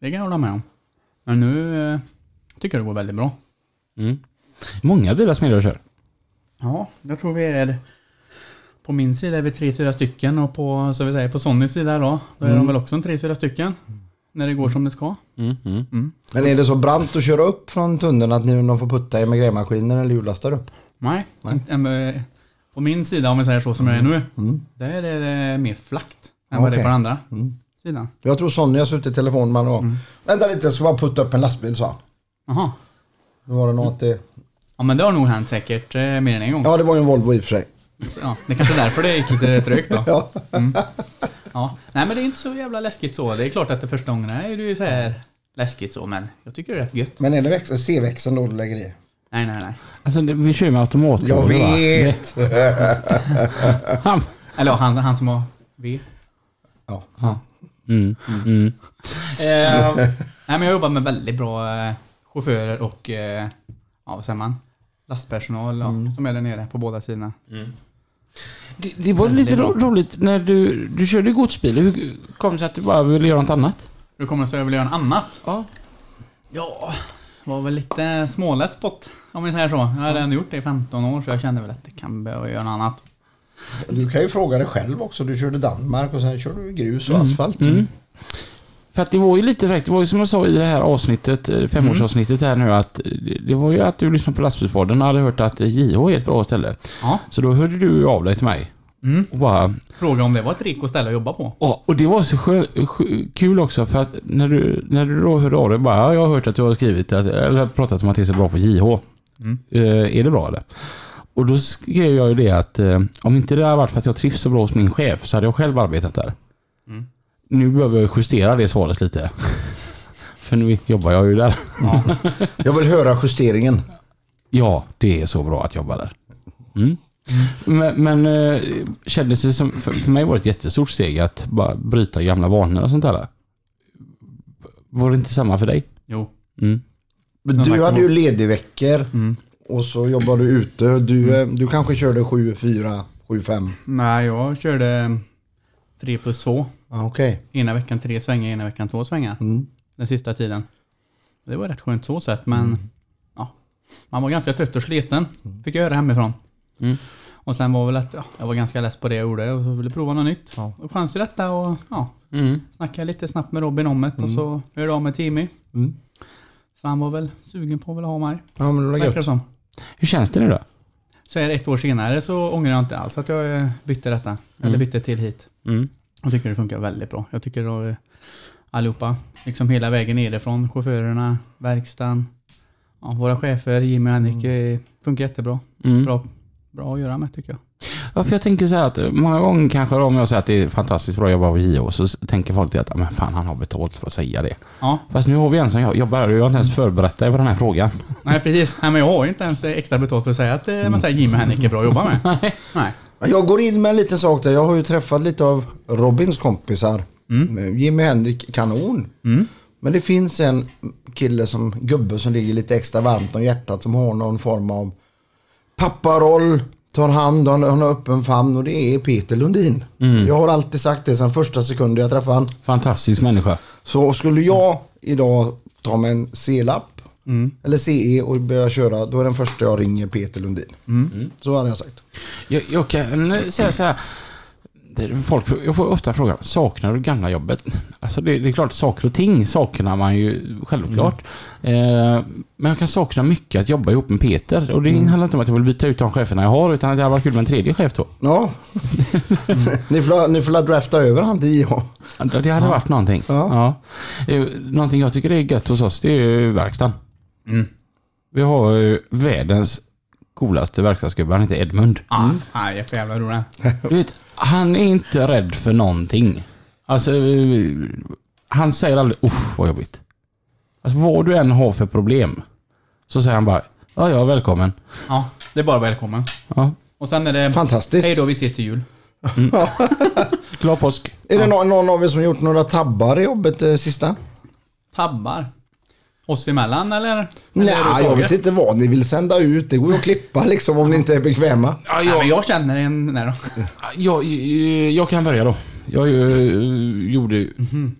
Speaker 3: Det kan jag hålla med om. Men nu eh, tycker jag det går väldigt bra.
Speaker 2: Mm. Många bilar som är där och kör.
Speaker 3: Ja, jag tror vi är... På min sida är vi tre, fyra stycken och på, så vi säger, på Sonnys sida då, då är de väl också en tre, fyra stycken. När det går som det ska.
Speaker 2: Mm. Mm.
Speaker 1: Men är det så brant att köra upp från tunneln att ni de får putta er med grävmaskiner eller hjullastare upp?
Speaker 3: Nej. inte- em, eh, På min sida, om vi säger så som jag är nu, där är det mer flackt än vad det är
Speaker 1: Okej.
Speaker 3: på den andra sidan.
Speaker 1: Jag tror Sonny har suttit i telefon med honom och Vänta lite, jag ska bara putta upp en lastbil sa han.
Speaker 3: Jaha.
Speaker 1: Nu var det nog att det...
Speaker 3: Ja men det har nog hänt säkert eh, mer än en gång. Ja.
Speaker 1: Ja, det var ju en Volvo i och för sig.
Speaker 3: Ja, det är kanske är därför det gick lite trögt då. Mm.
Speaker 1: Ja.
Speaker 3: Ja. Nej men det är inte så jävla läskigt så. Det är klart att det första gången är det ju så här läskigt så men jag tycker det är rätt gött.
Speaker 1: Men är det väx- C-växeln då du lägger i?
Speaker 3: Nej nej nej.
Speaker 2: Alltså, det- vi kör ju med automatlådor
Speaker 1: Jag
Speaker 2: va?
Speaker 1: vet!
Speaker 2: Han-
Speaker 3: Eller ja, han, han som har V.
Speaker 1: Ja.
Speaker 2: Mm. Mm.
Speaker 3: Eh, nej, men jag jobbar med väldigt bra eh, chaufförer och eh, ja, vad säger man? lastpersonal ja, som är där nere på båda sidorna.
Speaker 2: Det, det var lite ro roligt när du, du körde godsbil. Hur kom det sig att du bara ville göra något annat?
Speaker 3: Nu kommer det så jag vill göra något annat.
Speaker 2: Ja.
Speaker 3: Ja, var väl lite småläst spot om vi säger så. Jag hade ändå gjort det i 15 år så jag kände väl att det kan behöva göra något annat.
Speaker 1: Du kan ju fråga dig själv också. Du körde Danmark och sen körde du grus och asfalt.
Speaker 2: För att det var ju lite fräckt, det var ju som jag sa i det här avsnittet, eh, femårsavsnittet här nu att eh, det- det var ju att du lyssnade på lastbilspodden och hade hört att eh, JH är ett bra ställe.
Speaker 3: Ja.
Speaker 2: Så då hörde du av dig till mig.
Speaker 3: Mm.
Speaker 2: Och bara,
Speaker 3: Fråga om det var ett rikt ställe att jobba på.
Speaker 2: Ja, och det var så skö- skö- kul också för att när du, när du då hörde av dig bara, ja, jag har hört att du har skrivit att, eller pratat om att det är så bra på JH. Eh, är det bra eller? Och då skrev jag ju det att eh, om inte det hade varit för att jag trivs så bra hos min chef så hade jag själv arbetat där. Nu behöver jag justera det svaret lite. för nu jobbar jag ju där.
Speaker 1: Jag vill höra justeringen.
Speaker 2: Ja, det är så bra att jobba där. Mm. Men, men eh, kändes det som, för, för mig var det ett jättestort steg att bara bryta gamla vanor och sånt där. Var det inte samma för dig?
Speaker 3: Jo.
Speaker 2: Mm.
Speaker 1: Men
Speaker 3: tack,
Speaker 1: Du hade
Speaker 3: ja.
Speaker 1: ju ledigveckor och så jobbade du ute. Du, eh, du kanske körde 7, 4, 7, 5.
Speaker 3: Nej, jag körde 3 plus 2.
Speaker 1: Ah, Okej.
Speaker 3: Ena veckan tre svängar, ena veckan två svängar.
Speaker 1: Mm.
Speaker 3: Den sista tiden. Det var rätt skönt så sett men ja, man var ganska trött och sliten. Fick jag göra hemifrån.
Speaker 2: Mm.
Speaker 3: Och sen var väl att ja, jag var ganska less på det jag gjorde och så ville prova något nytt.
Speaker 1: Ja.
Speaker 3: Och chans till detta och ja, snackade lite snabbt med Robin om det och så hörde jag av mig till Timmy.
Speaker 1: Mm.
Speaker 3: Så han var väl sugen på att vilja ha mig.
Speaker 1: Ja men det var
Speaker 3: Verkar det
Speaker 1: gött.
Speaker 3: som.
Speaker 2: Hur känns det nu då?
Speaker 3: Så här ett år senare så ångrar jag inte alls att jag eh, bytte detta. Eller bytte till hit. Jag tycker det funkar väldigt bra. Jag tycker då, eh, allihopa, liksom hela vägen nerifrån, chaufförerna, verkstaden, ja, våra chefer, Jimmy och Henrik, eh, funkar jättebra.
Speaker 2: Mm.
Speaker 3: Bra, bra att göra med tycker jag.
Speaker 2: Ja, för jag tänker så här att eh, många gånger kanske om jag säger att det är fantastiskt bra jobbat av JO så s- tänker folk till att "Ah, men fan han har betalt för att säga det.
Speaker 3: Ja,
Speaker 2: Fast nu har vi en som jag jobbar här och jag har inte ens förberett dig på den här frågan.
Speaker 3: nej precis. Nej, men jag har ju inte ens eh, extra betalt för att säga att eh, man säger Jimmy och Henrik är bra att jobba med. nej.
Speaker 1: Jag går in med en liten sak där. Jag har ju träffat lite av Robins kompisar. Eh, Jimmy Henrik Kanon. Men det finns en kille som gubbe som ligger lite extra varmt om hjärtat som har någon form av papparoll, tar hand, han han har öppen famn och det är Peter Lundin. Jag har alltid sagt det sedan första sekunden jag träffade han.
Speaker 2: Fantastisk människa.
Speaker 1: Så skulle jag idag ta mig en C-lapp eller CE och börja köra, då är den första jag ringer Peter Lundin. Så hade jag sagt.
Speaker 2: Jag, jag kan eh, säga så här. Det- Folk, jag får ofta frågan, saknar du gamla jobbet? Alltså det, det är klart, saker och ting saknar man ju självklart. Eh, men jag kan sakna mycket att jobba ihop med Peter. Och det handlar inte om att jag vill byta ut de cheferna jag har, utan att det hade varit kul med en tredje chef då.
Speaker 1: Ja, ni får, ni får la drafta över han till IH.
Speaker 2: Ja, Det hade varit någonting. Ja.
Speaker 1: Ja.
Speaker 2: Eh, Någonting jag tycker är gött hos oss, det är ju verkstaden. Vi har ju världens coolaste verkstadsgubbe, han heter Edmund.
Speaker 3: Ah,
Speaker 1: Mm.
Speaker 3: Nej, jag är för jävla rolig.
Speaker 2: Du vet, han är inte rädd för någonting. Alltså, eh, han säger aldrig usch vad jobbigt. Alltså vad du än har för problem. Så säger han bara, ja ja välkommen.
Speaker 3: Ja, det är bara välkommen.
Speaker 2: Ja,
Speaker 3: Och sen är det,
Speaker 1: Fantastiskt.
Speaker 3: hej då, vi ses till jul.
Speaker 2: glad påsk.
Speaker 1: Är det någon, någon av er som har gjort några tabbar i jobbet eh, sista?
Speaker 3: Tabbar. Oss emellan eller? eller
Speaker 1: Nej, jag
Speaker 3: överhuvudtaget?
Speaker 1: vet inte vad ni vill sända ut. Det går ju att klippa liksom om ni inte är bekväma.
Speaker 2: Ja,
Speaker 3: Nej, men
Speaker 2: jag,
Speaker 3: jag känner en... Nej då.
Speaker 2: jag, jag kan börja då. Jag eh, gjorde... mm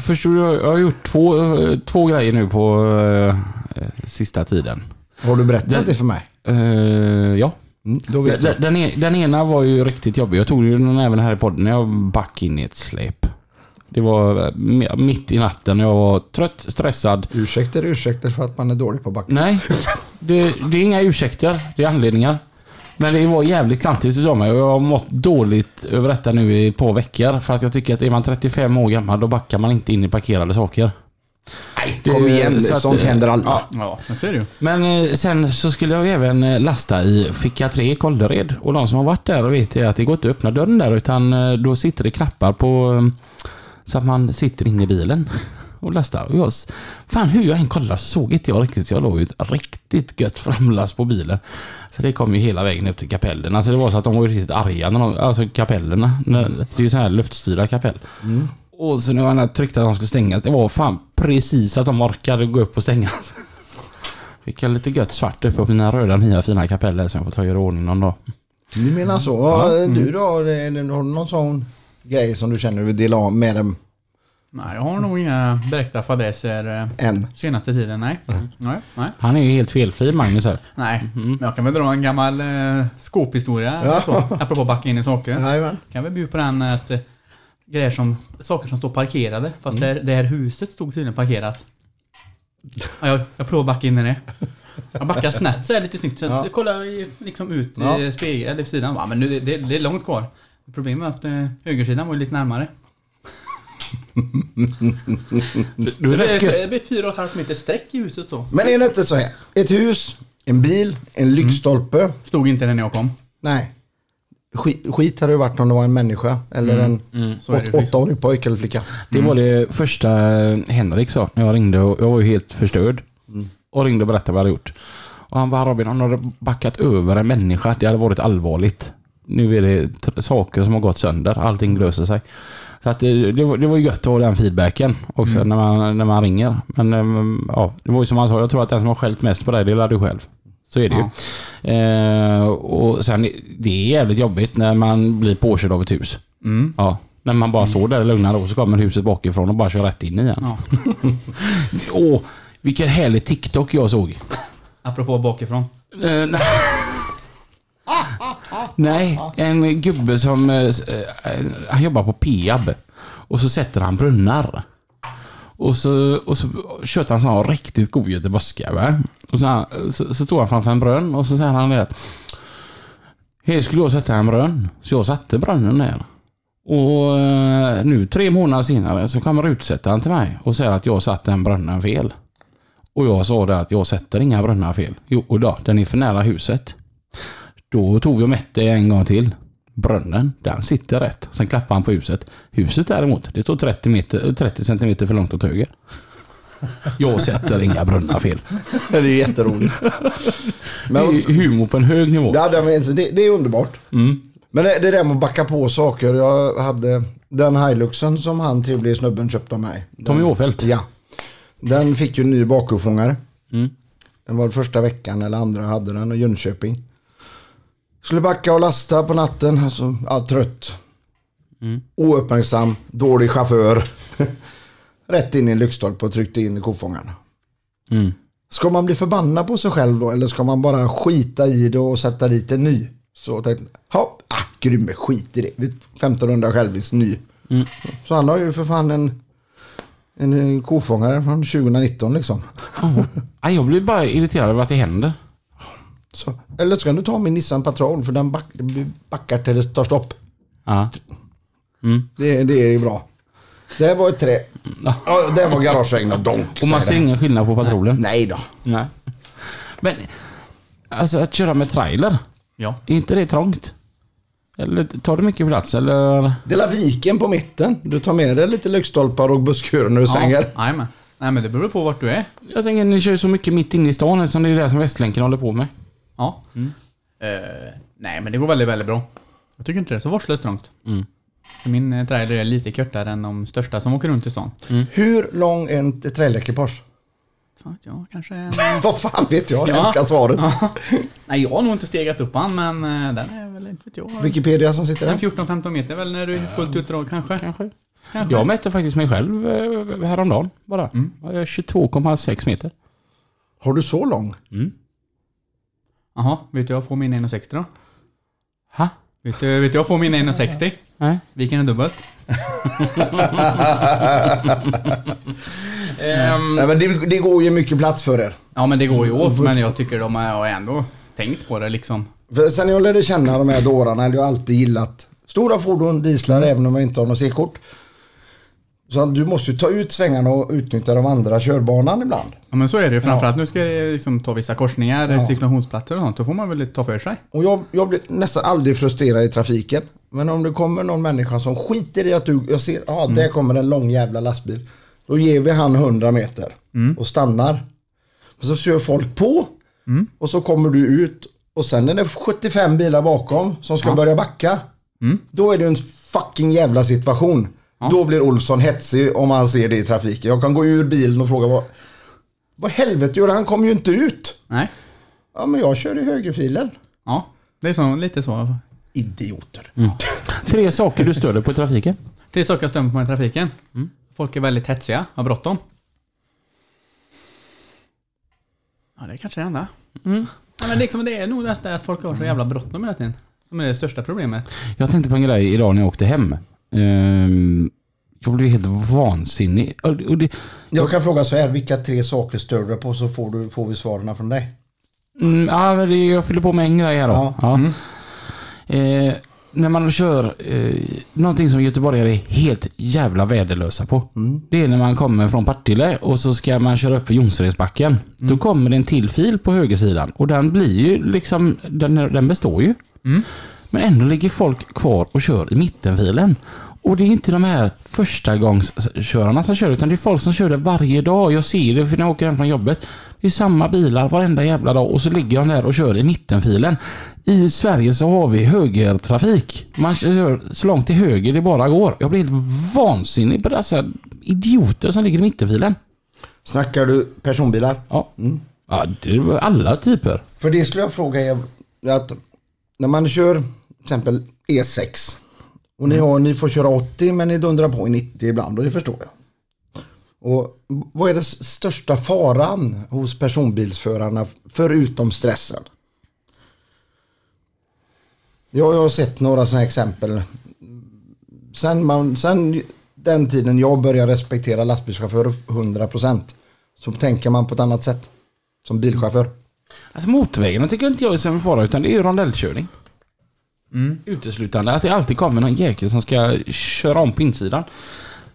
Speaker 2: Först gjorde jag, jag har gjort två, eh, två grejer nu på eh, sista tiden.
Speaker 1: Har du berättat det för mig?
Speaker 2: Eh, ja.
Speaker 1: Mm, då vet
Speaker 2: Den,
Speaker 1: jag.
Speaker 2: den, e- den ena var ju riktigt jobbig. Jag tog ju den även här i podden när jag back in i ett släp. Det var eh, m- mitt i natten. Jag var trött, stressad.
Speaker 1: Ursäkter, ursäkter för att man är dålig på backen.
Speaker 2: Nej, det, det är inga ursäkter. Det är anledningar. Men det var jävligt klantigt utav mig och jag har mått dåligt över detta nu i ett par veckor. För att jag tycker att är man 35 år gammal då backar man inte in i parkerade saker.
Speaker 1: Nej,
Speaker 2: det-
Speaker 1: kom igen.
Speaker 2: så att-
Speaker 1: Sånt händer alla.
Speaker 2: Ja.
Speaker 3: Ja, men så är det ju.
Speaker 2: Men eh, sen så skulle jag ju även eh, lasta i Ficka 3 i Kållered. Och de som har varit där vet ju att det går inte att öppna dörren där utan eh, då sitter det knappar på eh, så att man sitter inne i bilen och lastar. Och jag, s- fan hur jag än kollade så såg inte jag riktigt. Jag låg ju ett riktigt gött framlast på bilen. Så det kom ju hela vägen upp till kapellen. Alltså det var så att de var ju riktigt arga. När de, alltså kapellerna. När, det är ju så här luftstyrda kapell. Och så nu har han tryckt att de skulle stängas. Det var fan precis att de orkade gå upp och stänga. Fick jag lite gött svart uppe på mina röda nya fina kapeller som jag får ta och göra i ordning någon dag.
Speaker 1: Du menar så. Ja, Du då? Är det- Har du någon sån grej som du känner du vill dela av med dem?
Speaker 3: Nej, jag har nog inga direkta fadäser eh,
Speaker 1: En.
Speaker 3: senaste tiden. Nej.
Speaker 1: Mm.
Speaker 3: Nej, nej.
Speaker 2: Han är ju helt felfri Magnus här.
Speaker 3: nej. Men jag kan väl dra en gammal eh, skåphistoria. eller
Speaker 1: Mm-hmm. Ja.
Speaker 3: Så, apropå att backa in i saker.
Speaker 1: Jajamän.
Speaker 3: kan väl bjuda på den att eh, grejer som, saker som står parkerade. Fast det, här, det här huset stod tydligen parkerat. Ja, jag, jag provar att backa in i det. Jag backar snett så här lite snyggt. Så
Speaker 1: Ja.
Speaker 3: jag kollar i- liksom ut
Speaker 1: Ja.
Speaker 3: i spegeln, eller i sidan. Va, men nu, det, det, det är långt kvar. Problemet är att eh, högersidan var ju lite närmare.
Speaker 2: Du
Speaker 3: Så
Speaker 2: är
Speaker 3: det,
Speaker 2: rätt
Speaker 3: är-
Speaker 2: gött.
Speaker 3: det blir fyra och ett halvt meter streck i huset så.
Speaker 1: Men är det inte så här? Ett hus, en bil, en lyktstolpe.
Speaker 3: Stod inte det när jag kom.
Speaker 1: Nej. Skit, skit hade det varit om det var en människa eller en
Speaker 3: Mm, Så är det ju
Speaker 1: åt-
Speaker 3: förvisso.
Speaker 1: åttaårig pojke eller flicka.
Speaker 2: Det var det första eh, Henrik sa när jag ringde och jag var ju helt förstörd. Och ringde och berättade vad jag hade gjort. Och han bara Robin, om du hade backat över en människa, det hade varit allvarligt. Nu är det tr- saker som har gått sönder, allting löser sig. Så att eh, det, det, var, det var ju gött att ha den feedbacken också när, man, när man ringer. Men ehm, ja, det var ju som han sa, jag tror att den som har skällt mest på dig, det är du själv. Så är det
Speaker 3: Ja.
Speaker 2: ju. Eh, och sen, det är jävligt jobbigt när man blir påkörd av ett hus.
Speaker 3: Mm.
Speaker 2: Ja. När man bara står där i lugna ro så kommer huset bakifrån och bara kör rätt in igen.
Speaker 3: Ja.
Speaker 2: Åh, vilken härlig TikTok jag såg.
Speaker 3: Apropå bakifrån.
Speaker 2: Eh, nej. Nej, en gubbe som eh, s- eh, han jobbar på Peab. Och så sätter han brunnar. Och så, och så köpte han sån här riktigt god göteborgska. va? Och så, han- så, så tog han framför en brunn och så säger han det att Här skulle jag sätta en brunn. Så jag satte brunnen där. Och eh, nu tre månader senare så kommer utsättaren till mig och säger att jag satte den brunnen fel. Och jag sa det att jag sätter inga brunnar fel. Jo och då, den är för nära huset. Då tog vi och mätte en gång till. Brunnen, den sitter rätt. Sen klappade han på huset. Huset däremot, det står 30, meter, 30 centimeter för långt åt höger. Jag sätter inga brunnar fel.
Speaker 1: Det är jätteroligt.
Speaker 2: Det
Speaker 1: Men,
Speaker 2: är humor på en hög nivå.
Speaker 1: Ja, det, men det, det är underbart.
Speaker 2: Mm.
Speaker 1: Men det, det där med att backa på saker. Jag hade den Hiluxen som han trevliga snubben köpte av mig.
Speaker 2: Tommy Åfeldt.
Speaker 1: Ja. Den fick ju en ny bakhuvudfångare.
Speaker 2: Mm.
Speaker 1: Den var första veckan eller andra hade den och Jönköping. Skulle backa och lasta på natten. Alltså, ja, trött.
Speaker 2: Mm.
Speaker 1: Ouppmärksam. Dålig chaufför. Rätt in i en lyktstolpe och tryckte in i kofångaren.
Speaker 2: Mm.
Speaker 1: Ska man bli förbannad på sig själv då eller ska man bara skita i det och sätta dit en ny? Så tänkte jag, hopp, ah, grymme, skit i det. Vi- 1500 självis, ny.
Speaker 2: Mm.
Speaker 1: Så han har ju för fan en, en kofångare från 2019 liksom.
Speaker 2: Nej, Jag blir bara irriterad över att det händer.
Speaker 1: Så, eller ska du ta min Nissan Patrol för den back, backar till det tar stopp.
Speaker 2: Ja.
Speaker 1: Det, det är ju bra. Det här var ett trä. Ja, det här var garagevägen och donk.
Speaker 2: Och man ser
Speaker 1: säger det.
Speaker 2: ingen skillnad på patrullen.
Speaker 1: Nej då.
Speaker 2: Nej. Men, alltså att köra med trailer.
Speaker 3: Ja.
Speaker 2: Är inte det trångt? Eller tar det mycket plats eller?
Speaker 1: Det är viken på mitten. Du tar med dig lite lyktstolpar och busskur när du svänger.
Speaker 3: Nej men. Nej men det beror på vart du är.
Speaker 2: Jag tänker ni kör ju så mycket mitt inne i stan eftersom det är det som Västlänken håller på med.
Speaker 3: Ja. Eh, nej, men det går väldigt, väldigt bra. Mm. Jag tycker inte det är så vårdslöst trångt. För min eh, trailer är lite kortare än de största som åker runt i stan.
Speaker 1: Hur lång är ett trailekipage?
Speaker 3: Fan vet jag kanske... en-
Speaker 1: Vad fan vet jag? Jag
Speaker 3: Ja.
Speaker 1: älskar svaret.
Speaker 3: nej, jag har nog inte stegat upp han, men eh, den är väl inte vet jag.
Speaker 1: Wikipedia som sitter
Speaker 3: Den
Speaker 1: där.
Speaker 3: 14-15 meter väl när du är fullt utdrag kanske?
Speaker 2: Kanske.
Speaker 3: kanske.
Speaker 2: Jag mätte faktiskt mig själv eh, häromdagen bara. Jag är 22,6 meter.
Speaker 1: Har du så lång?
Speaker 3: Mm. Jaha, vet du jag får min 1,60 då?
Speaker 2: Ha?
Speaker 3: Vet du, vet du jag får min 1,60?
Speaker 2: Nej.
Speaker 3: Viken är dubbelt.
Speaker 1: Nej, men det, det går ju mycket plats för er.
Speaker 3: Ja men det går ju åt, men jag tycker de har ändå tänkt på det liksom.
Speaker 1: För sen jag lärde känna de här dårarna, eller jag har alltid gillat stora fordon, dieslar,
Speaker 3: Mm.
Speaker 1: även om jag inte har något C-kort. Så att du måste ju ta ut svängarna och utnyttja de andra körbanan ibland.
Speaker 3: Ja men så är det ju. Framförallt nu ska jag liksom ta vissa korsningar, cirkulationsplatser och sånt. Då får man väl lite ta för sig.
Speaker 1: Och jag, jag blir nästan aldrig frustrerad i trafiken. Men om det kommer någon människa som skiter i att du, jag ser, ja ah, där kommer en lång jävla lastbil. Då ger vi han 100 meter och stannar. Och så kör folk på och så kommer du ut och sen är det 75 bilar bakom som ska börja backa. Då är det en fucking jävla situation. Då blir Olsson hetsig om han ser det i trafiken. Jag kan gå ur bilen och fråga vad, vad helvete gör han? Han kommer ju inte ut.
Speaker 3: Nej.
Speaker 1: Ja men jag kör i högerfilen.
Speaker 3: Ja. Det är så, lite så.
Speaker 1: Idioter.
Speaker 2: Tre saker du stör dig på i trafiken.
Speaker 3: Tre saker jag stämmer på mig i trafiken. Folk är väldigt hetsiga, har bråttom. Ja, det kanske är det enda. Ja, men liksom, det är nog nästan att folk har så jävla bråttom hela tiden. Som är det största problemet.
Speaker 2: Jag tänkte på en grej idag när jag åkte hem. Ehm, jag blev helt vansinnig. Och- och det-
Speaker 1: Jag kan fråga så här, vilka tre saker stör du dig på så får, du, får vi svaren från dig.
Speaker 2: Mm, ja, men det- jag fyller på med en grej här då.
Speaker 1: Ja.
Speaker 2: Ja. Eh, när man kör eh, någonting som göteborgare är helt jävla väderlösa på. Det är när man kommer från Partille och så ska man köra upp för Jonseredsbacken. Då kommer det en till fil på högersidan och den blir ju liksom, den, den består ju. Men ändå ligger folk kvar och kör i mittenfilen. Och det är inte de här förstagångskörarna som kör, utan det är folk som kör det varje dag. Jag ser det för när jag åker hem från jobbet. Det är samma bilar varenda jävla dag och så ligger de där och kör i mittenfilen. I Sverige så har vi högertrafik. Man kör så långt till höger det bara går. Jag blir helt vansinnig på dessa idioter som ligger i mittenfilen.
Speaker 1: Snackar du personbilar?
Speaker 2: Ja, ja det var alla typer.
Speaker 1: För det skulle jag fråga er. Att när man kör till exempel E6. Och ni, har, ni får köra 80 men ni dundrar på i 90 ibland och det förstår jag. Och vad är den s- största faran hos personbilsförarna förutom stressen? Ja, jag har sett några sådana exempel. Sen, man, sen den tiden jag började respektera lastbilschaufförer 100% så tänker man på ett annat sätt som bilchaufför.
Speaker 2: Alltså motorvägarna tycker inte jag är sämre fara utan det är ju rondellkörning. Uteslutande att det alltid kommer någon jäkel som ska köra om på insidan.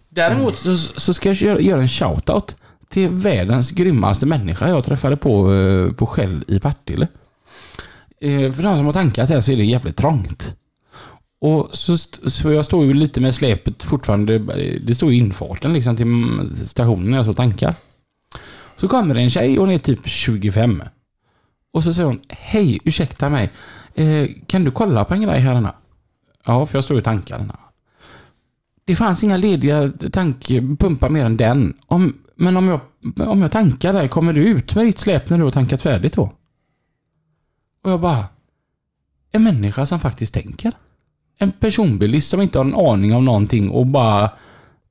Speaker 2: Däremot så, så ska jag göra- göra en shoutout till världens grymmaste människa jag träffade på, eh, på Shell i Partille. Eh, För de som har tankat här så är det jävligt trångt. Och så, st- så jag står ju lite med släpet fortfarande, eh, det står ju infarten liksom till mm, stationen när jag står och tankar. Så kommer det en tjej, hon är typ 25. Och så säger hon, hej, ursäkta mig. Eh, kan du kolla på en grej här Anna? Ja, för jag står i tankarna. Det fanns inga lediga tankpumpar mer än den. Om, men om jag, om jag tankar där, kommer du ut med ditt släp när du har tankat färdigt då? Och jag bara, en människa som faktiskt tänker. En personbilist som inte har en aning om någonting och bara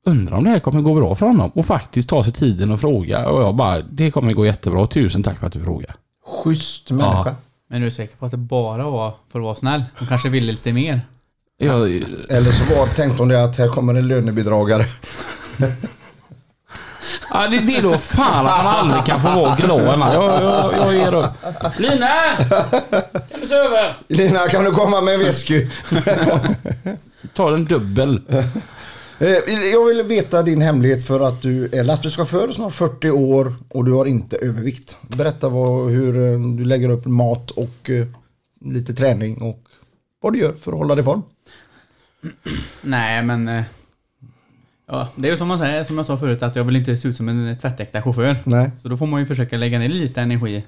Speaker 2: undrar om det här kommer gå bra för honom. Och faktiskt tar sig tiden och fråga. Och jag bara, det kommer gå jättebra. Tusen tack för att du frågar.
Speaker 1: Schysst människa.
Speaker 3: Men du är säker på att det bara var för att vara snäll? De kanske ville lite mer?
Speaker 2: Jag,
Speaker 1: Eller så var, tänkte hon det att här kommer en lönebidragare.
Speaker 2: Ja, det, det är då fan att man aldrig kan få vara glad Emma. Jag, jag, jag ger upp. Lina! Kan du ta över?
Speaker 1: Lina, kan du komma med en väsku?
Speaker 2: Ta en dubbel.
Speaker 1: Eh, Jag vill veta din hemlighet för att du är lastbilschaufför, snart 40 år och du har inte övervikt. Berätta vad, hur eh, du lägger upp mat och eh, lite träning och vad du gör för att hålla dig i form.
Speaker 3: Nej, men... eh, Ja, det är ju som man säger, som jag sa förut, att jag vill inte se ut som en tvättäkta chaufför.
Speaker 1: Nej.
Speaker 3: Så då får man ju försöka lägga ner lite energi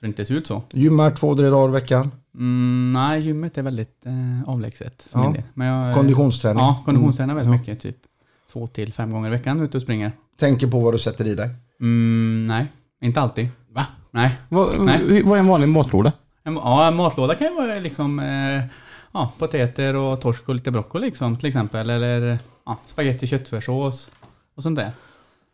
Speaker 3: för att inte se ut så.
Speaker 1: Gymmar två, tre dagar i veckan.
Speaker 3: Mm, nej, gymmet är väldigt eh, avlägset för
Speaker 1: Ja.
Speaker 3: min del. Men jag, eh,
Speaker 1: Konditionsträning. Mm.
Speaker 3: Ja, konditionstränar väldigt mycket. Typ två till fem gånger i veckan ute och springer.
Speaker 1: Tänker på vad du sätter i dig.
Speaker 3: Mm, nej, inte alltid.
Speaker 2: Va?
Speaker 3: Nej.
Speaker 2: Vad
Speaker 3: Nej.
Speaker 2: vad är en vanlig matlåda?
Speaker 3: En, ja, en matlåda kan ju vara liksom eh, ja, potäter och torsk och lite broccoli liksom, till exempel. Eller ja, spagetti köttfärssås och sånt där.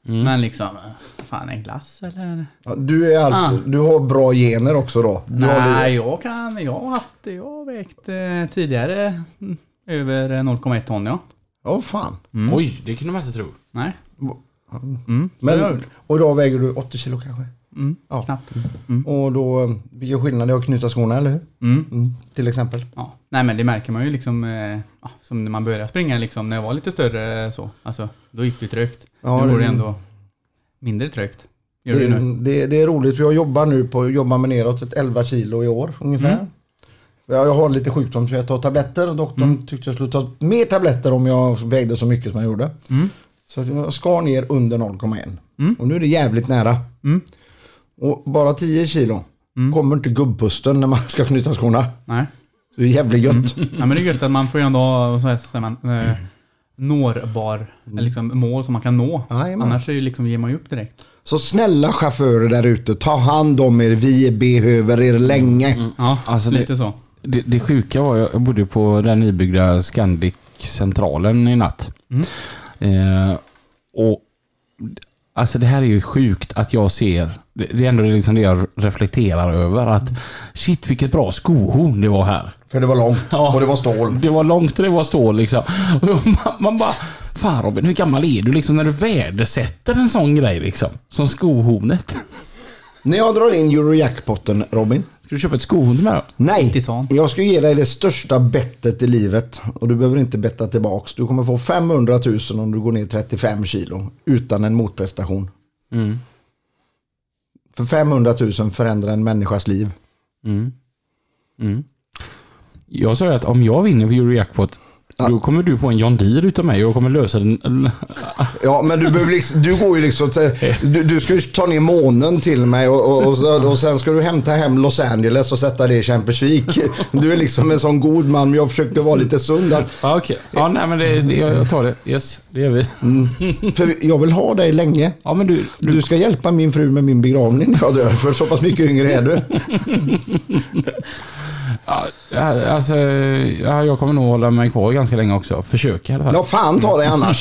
Speaker 1: Mm.
Speaker 3: Men liksom, eh, fan en glass eller?
Speaker 1: Ja, Du är alltså,
Speaker 3: Ah.
Speaker 1: du har bra gener också då. Du har
Speaker 3: Nej, jag kan, jag har haft, jag har vägt eh, tidigare mm, över 0,1 ton ja.
Speaker 1: Åh oh, fan.
Speaker 2: Oj, det kunde man inte tro.
Speaker 3: Nej. Mm. så det har jag
Speaker 1: Men,
Speaker 3: gjort.
Speaker 1: och idag väger du 80 kilo kanske?
Speaker 3: Mm,
Speaker 1: Ja.
Speaker 3: Knappt.
Speaker 1: Och då, vilken skillnad det är att knyta skorna, eller hur?
Speaker 3: Mm.
Speaker 1: Mm, till exempel.
Speaker 3: Ja. Nej men det märker man ju liksom, eh, ja, som när man började springa liksom, när jag var lite större eh, så. Alltså, då gick det ju trögt.
Speaker 1: Ja,
Speaker 3: nu går det
Speaker 1: det-
Speaker 3: ändå mindre trögt. Gör det,
Speaker 1: Det,
Speaker 3: nu.
Speaker 1: det, det är roligt för jag jobbar nu på, jobbar med neråt ett 11 kilo i år ungefär.
Speaker 3: Mm.
Speaker 1: Jag, jag har lite sjukdom så jag tar tabletter och doktorn
Speaker 3: Mm.
Speaker 1: tyckte jag skulle ta mer tabletter om jag vägde så mycket som jag gjorde.
Speaker 3: Mm.
Speaker 1: Så att jag skar ner under 0,1 och nu är det jävligt nära.
Speaker 3: Mm.
Speaker 1: Och bara 10 kilo kommer inte gubbpusten när man ska knyta skorna.
Speaker 3: Nej.
Speaker 1: Så det är jävligt gött.
Speaker 3: Ja, men det är gött att man får ju ändå ha så här, så här, man, eh, nårbar eller liksom, mål som man kan nå.
Speaker 1: Jajamän.
Speaker 3: Annars är det liksom, ger man ju upp direkt.
Speaker 1: Så snälla chaufförer där ute, ta hand om er. Vi behöver er länge.
Speaker 3: Ja,
Speaker 2: Alltså, det-
Speaker 3: lite så.
Speaker 2: Det, det sjuka var, jag bodde på den nybyggda Scandic-centralen i natt. Eh, Och Alltså det här är ju sjukt att jag ser. Det det är ändå liksom det jag reflekterar över. Att shit vilket bra skohorn det var här.
Speaker 1: För det var långt
Speaker 2: Ja.
Speaker 1: och det var stål.
Speaker 2: Det var långt och det var stål liksom. Och man, man bara, fan Robin hur gammal är du liksom när du värdesätter en sån grej liksom? Som skohornet.
Speaker 1: När jag drar in Eurojackpotten Robin.
Speaker 2: Ska du köpa ett skohorn till mig då?
Speaker 1: Nej,
Speaker 3: Titan.
Speaker 1: jag ska ge dig det största bettet i livet. Och du behöver inte betta tillbaks. Du kommer få 500 000 om du går ner 35 kilo. Utan en motprestation.
Speaker 2: Mm.
Speaker 1: För 500 000 förändrar en människas liv.
Speaker 2: Mm. Mm. Jag sa ju att om jag vinner på Eurojackpot då kommer du få en John Deere utav mig och jag kommer lösa den.
Speaker 1: Ja, men du, behöver liksom, du går ju liksom... Till, du, du ska ju ta ner månen till mig och, och, och, så, och sen ska du hämta hem Los Angeles och sätta det i Champersvik. Du är liksom en sån god man, men jag försökte vara lite sund. Att,
Speaker 2: Ja, okej. Ja, nej men det, det, jag jag tar det. Yes, det gör vi.
Speaker 1: för jag vill ha dig länge.
Speaker 2: Ja, men du, du
Speaker 1: Du ska hjälpa min fru med min begravning när jag dör, för så pass mycket yngre är du.
Speaker 2: Ja, alltså, ja, jag kommer nog hålla mig kvar ganska länge också. Försöka i alla fall.
Speaker 1: Ja, fan ta dig annars.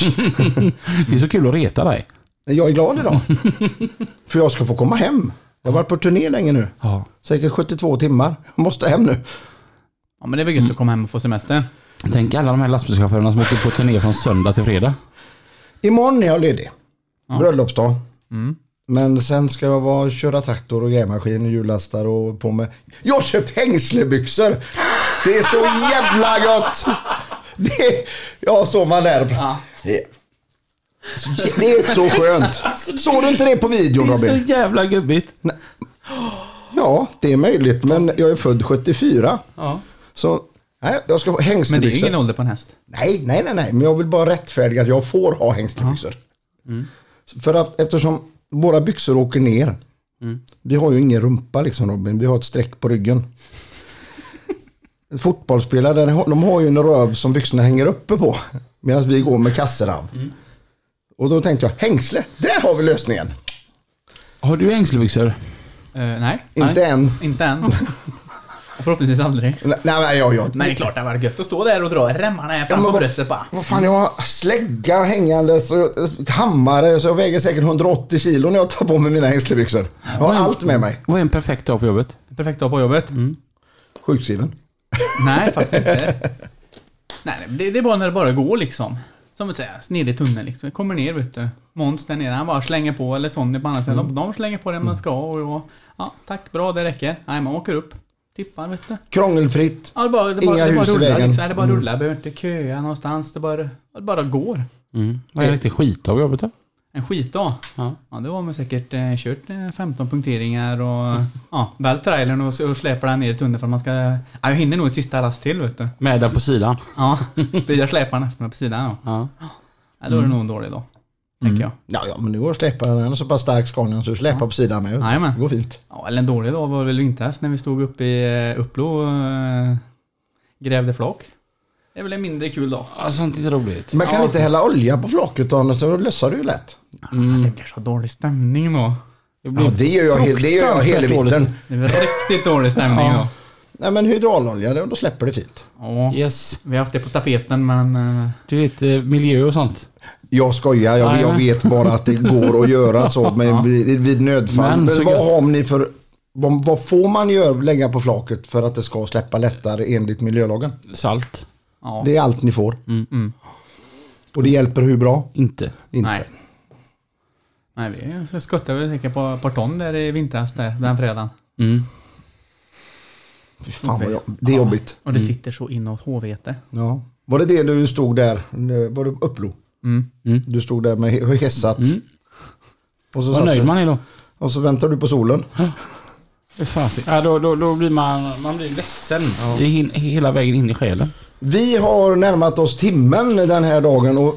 Speaker 2: Det är så kul att reta dig.
Speaker 1: Jag är glad idag. För jag ska få komma hem. Jag har varit på turné länge nu.
Speaker 2: Ja.
Speaker 1: Säkert 72 timmar. Jag måste hem nu.
Speaker 3: Ja men det är väl gött att komma hem och få semester.
Speaker 2: Tänk alla de här lastbilschaufförerna som åker på turné från söndag till fredag.
Speaker 1: Imorgon är jag ledig. Bröllopsdag.
Speaker 3: Mm.
Speaker 1: Men sen ska jag vara, köra traktor och grävmaskin och hjullastare och på med... Jag har köpt hängslebyxor! Det är så jävla gott! Det, ja, står man där. Det, det är så skönt. Såg du inte det på videon Robin?
Speaker 2: jävla gubbigt.
Speaker 1: Ja, det är möjligt. Men jag är född 74.
Speaker 3: Ja.
Speaker 1: Så nej, jag ska få
Speaker 3: Men det är ju
Speaker 1: hängslebyxor.
Speaker 3: ingen ålder på en häst.
Speaker 1: Nej, nej, nej, nej. Men jag vill bara rättfärdiga att jag får ha hängslebyxor. För att eftersom våra byxor åker ner. Vi har ju ingen rumpa liksom Robin. Vi har ett streck på ryggen. En Fotbollsspelare, den har- de har ju en röv som byxorna hänger uppe på. Medan vi går med kasserav. Och då tänkte jag, hängsle, där har vi lösningen.
Speaker 2: Har du hängslebyxor?
Speaker 3: Eh, nej,
Speaker 1: Inte än.
Speaker 3: inte än. Och förhoppningsvis aldrig.
Speaker 1: Nej, nej, jag, jag,
Speaker 3: Men det är klart det hade varit gött att stå där och dra remmarna här
Speaker 1: Ja,
Speaker 3: fram
Speaker 1: men
Speaker 3: på
Speaker 1: vad-
Speaker 3: bröstet bara.
Speaker 1: Vad fan, jag har slägga hängandes och eh, hammare så jag väger säkert 180 kilo när jag tar på mig mina hängslebyxor. Jag har allt med mig.
Speaker 2: Vad är en perfekt dag på jobbet?
Speaker 3: Perfekt dag på jobbet.
Speaker 1: Mm. Sjukskriven.
Speaker 3: Nej, faktiskt inte. Nej, nej, det, det är bara när det bara går liksom. Som att säga, sned i tunneln liksom. Jag kommer ner vet du. Måns där nere, han bara slänger på. Eller Sonny på andra sidan.
Speaker 1: Mm.
Speaker 3: De, de slänger på det man ska och jag, ja, tack, bra, det räcker. Nej, man åker upp. Tippar vet du.
Speaker 1: Krångelfritt.
Speaker 3: Ja, det bara, det
Speaker 1: Inga
Speaker 3: bara, det bara
Speaker 1: hus i
Speaker 3: rullar
Speaker 1: vägen. Mm.
Speaker 3: liksom. Nej, det bara rullar. Behöver inte köa någonstans. Det bara, det bara går.
Speaker 2: Mm. Vad är en riktig skitdag på jobbet då?
Speaker 3: En skitdag.
Speaker 2: Ja.
Speaker 3: Ja, det var man säkert eh, kört eh, 15 punkteringar och ja, väl trailern och, och släpar den ner i tunneln för att man ska... Ja, jag hinner nog ett sista last till vet du.
Speaker 2: Med den på sidan.
Speaker 3: Ja, för jag släpar den efter mig på sidan. Ja.
Speaker 2: Ja.
Speaker 3: Ja,
Speaker 2: Mm.
Speaker 3: då är det nog en dålig dag. Tänker jag.
Speaker 1: Ja, ja, men det går att släpa. Den är så pass stark Scanian så du släpar på sidan med. vet du.
Speaker 3: Jajamän.
Speaker 1: Det går fint.
Speaker 3: Ja, eller en dålig dag var det väl i vintras när vi stod uppe i eh, Upplo och eh, grävde flak. Det är väl en mindre kul dag.
Speaker 2: Ja, sånt är inte roligt.
Speaker 1: Man kan inte hälla olja på flaket utan så lössar det ju lätt.
Speaker 2: Mm.
Speaker 3: Det blir så dålig stämning då.
Speaker 2: Det
Speaker 1: Ja, det gör jag, hel- det gör jag hela
Speaker 2: fruktansvärt dåligt.
Speaker 1: vintern.
Speaker 3: Det är väl riktigt dålig stämning då.
Speaker 2: Ja.
Speaker 1: Nej, men hydraulolja, då då släpper det fint.
Speaker 3: Ja,
Speaker 2: Yes.
Speaker 3: vi har haft det på tapeten men... eh,
Speaker 2: Du vet eh, miljö och sånt.
Speaker 1: Jag skojar, jag, jag
Speaker 2: Jajamän.
Speaker 1: vet bara att det går att göra så med, vid, vid nödfall.
Speaker 2: Men
Speaker 1: Men,
Speaker 2: så
Speaker 1: vad
Speaker 2: gött.
Speaker 1: har ni för... Vad, vad får man göra, lägga på flaket för att det ska släppa lättare enligt miljölagen?
Speaker 2: Salt.
Speaker 3: Ja.
Speaker 1: Det är allt ni får.
Speaker 3: Mm.
Speaker 1: Och det hjälper hur bra?
Speaker 2: Inte.
Speaker 1: Inte.
Speaker 3: Nej. Nej, vi så skuttade vi säkert på ett par ton där i vintras där, den fredagen.
Speaker 2: Mm.
Speaker 1: Fy Fan vad jag, det är jobbigt.
Speaker 3: Och det sitter så inåt hårvete.
Speaker 1: Ja. Var det det du stod där, var det Upplo?
Speaker 3: Mm.
Speaker 1: Du stod där med he- hessat. Och, så
Speaker 2: Mm. Vad
Speaker 1: satt,
Speaker 2: nöjd
Speaker 1: du-
Speaker 2: man är då.
Speaker 1: och så väntar du på solen.
Speaker 2: Det är fasigt. Ja, då, då, då blir man, man blir ledsen. Det är hin- hela vägen in i själen.
Speaker 1: Vi har närmat oss timmen den här dagen och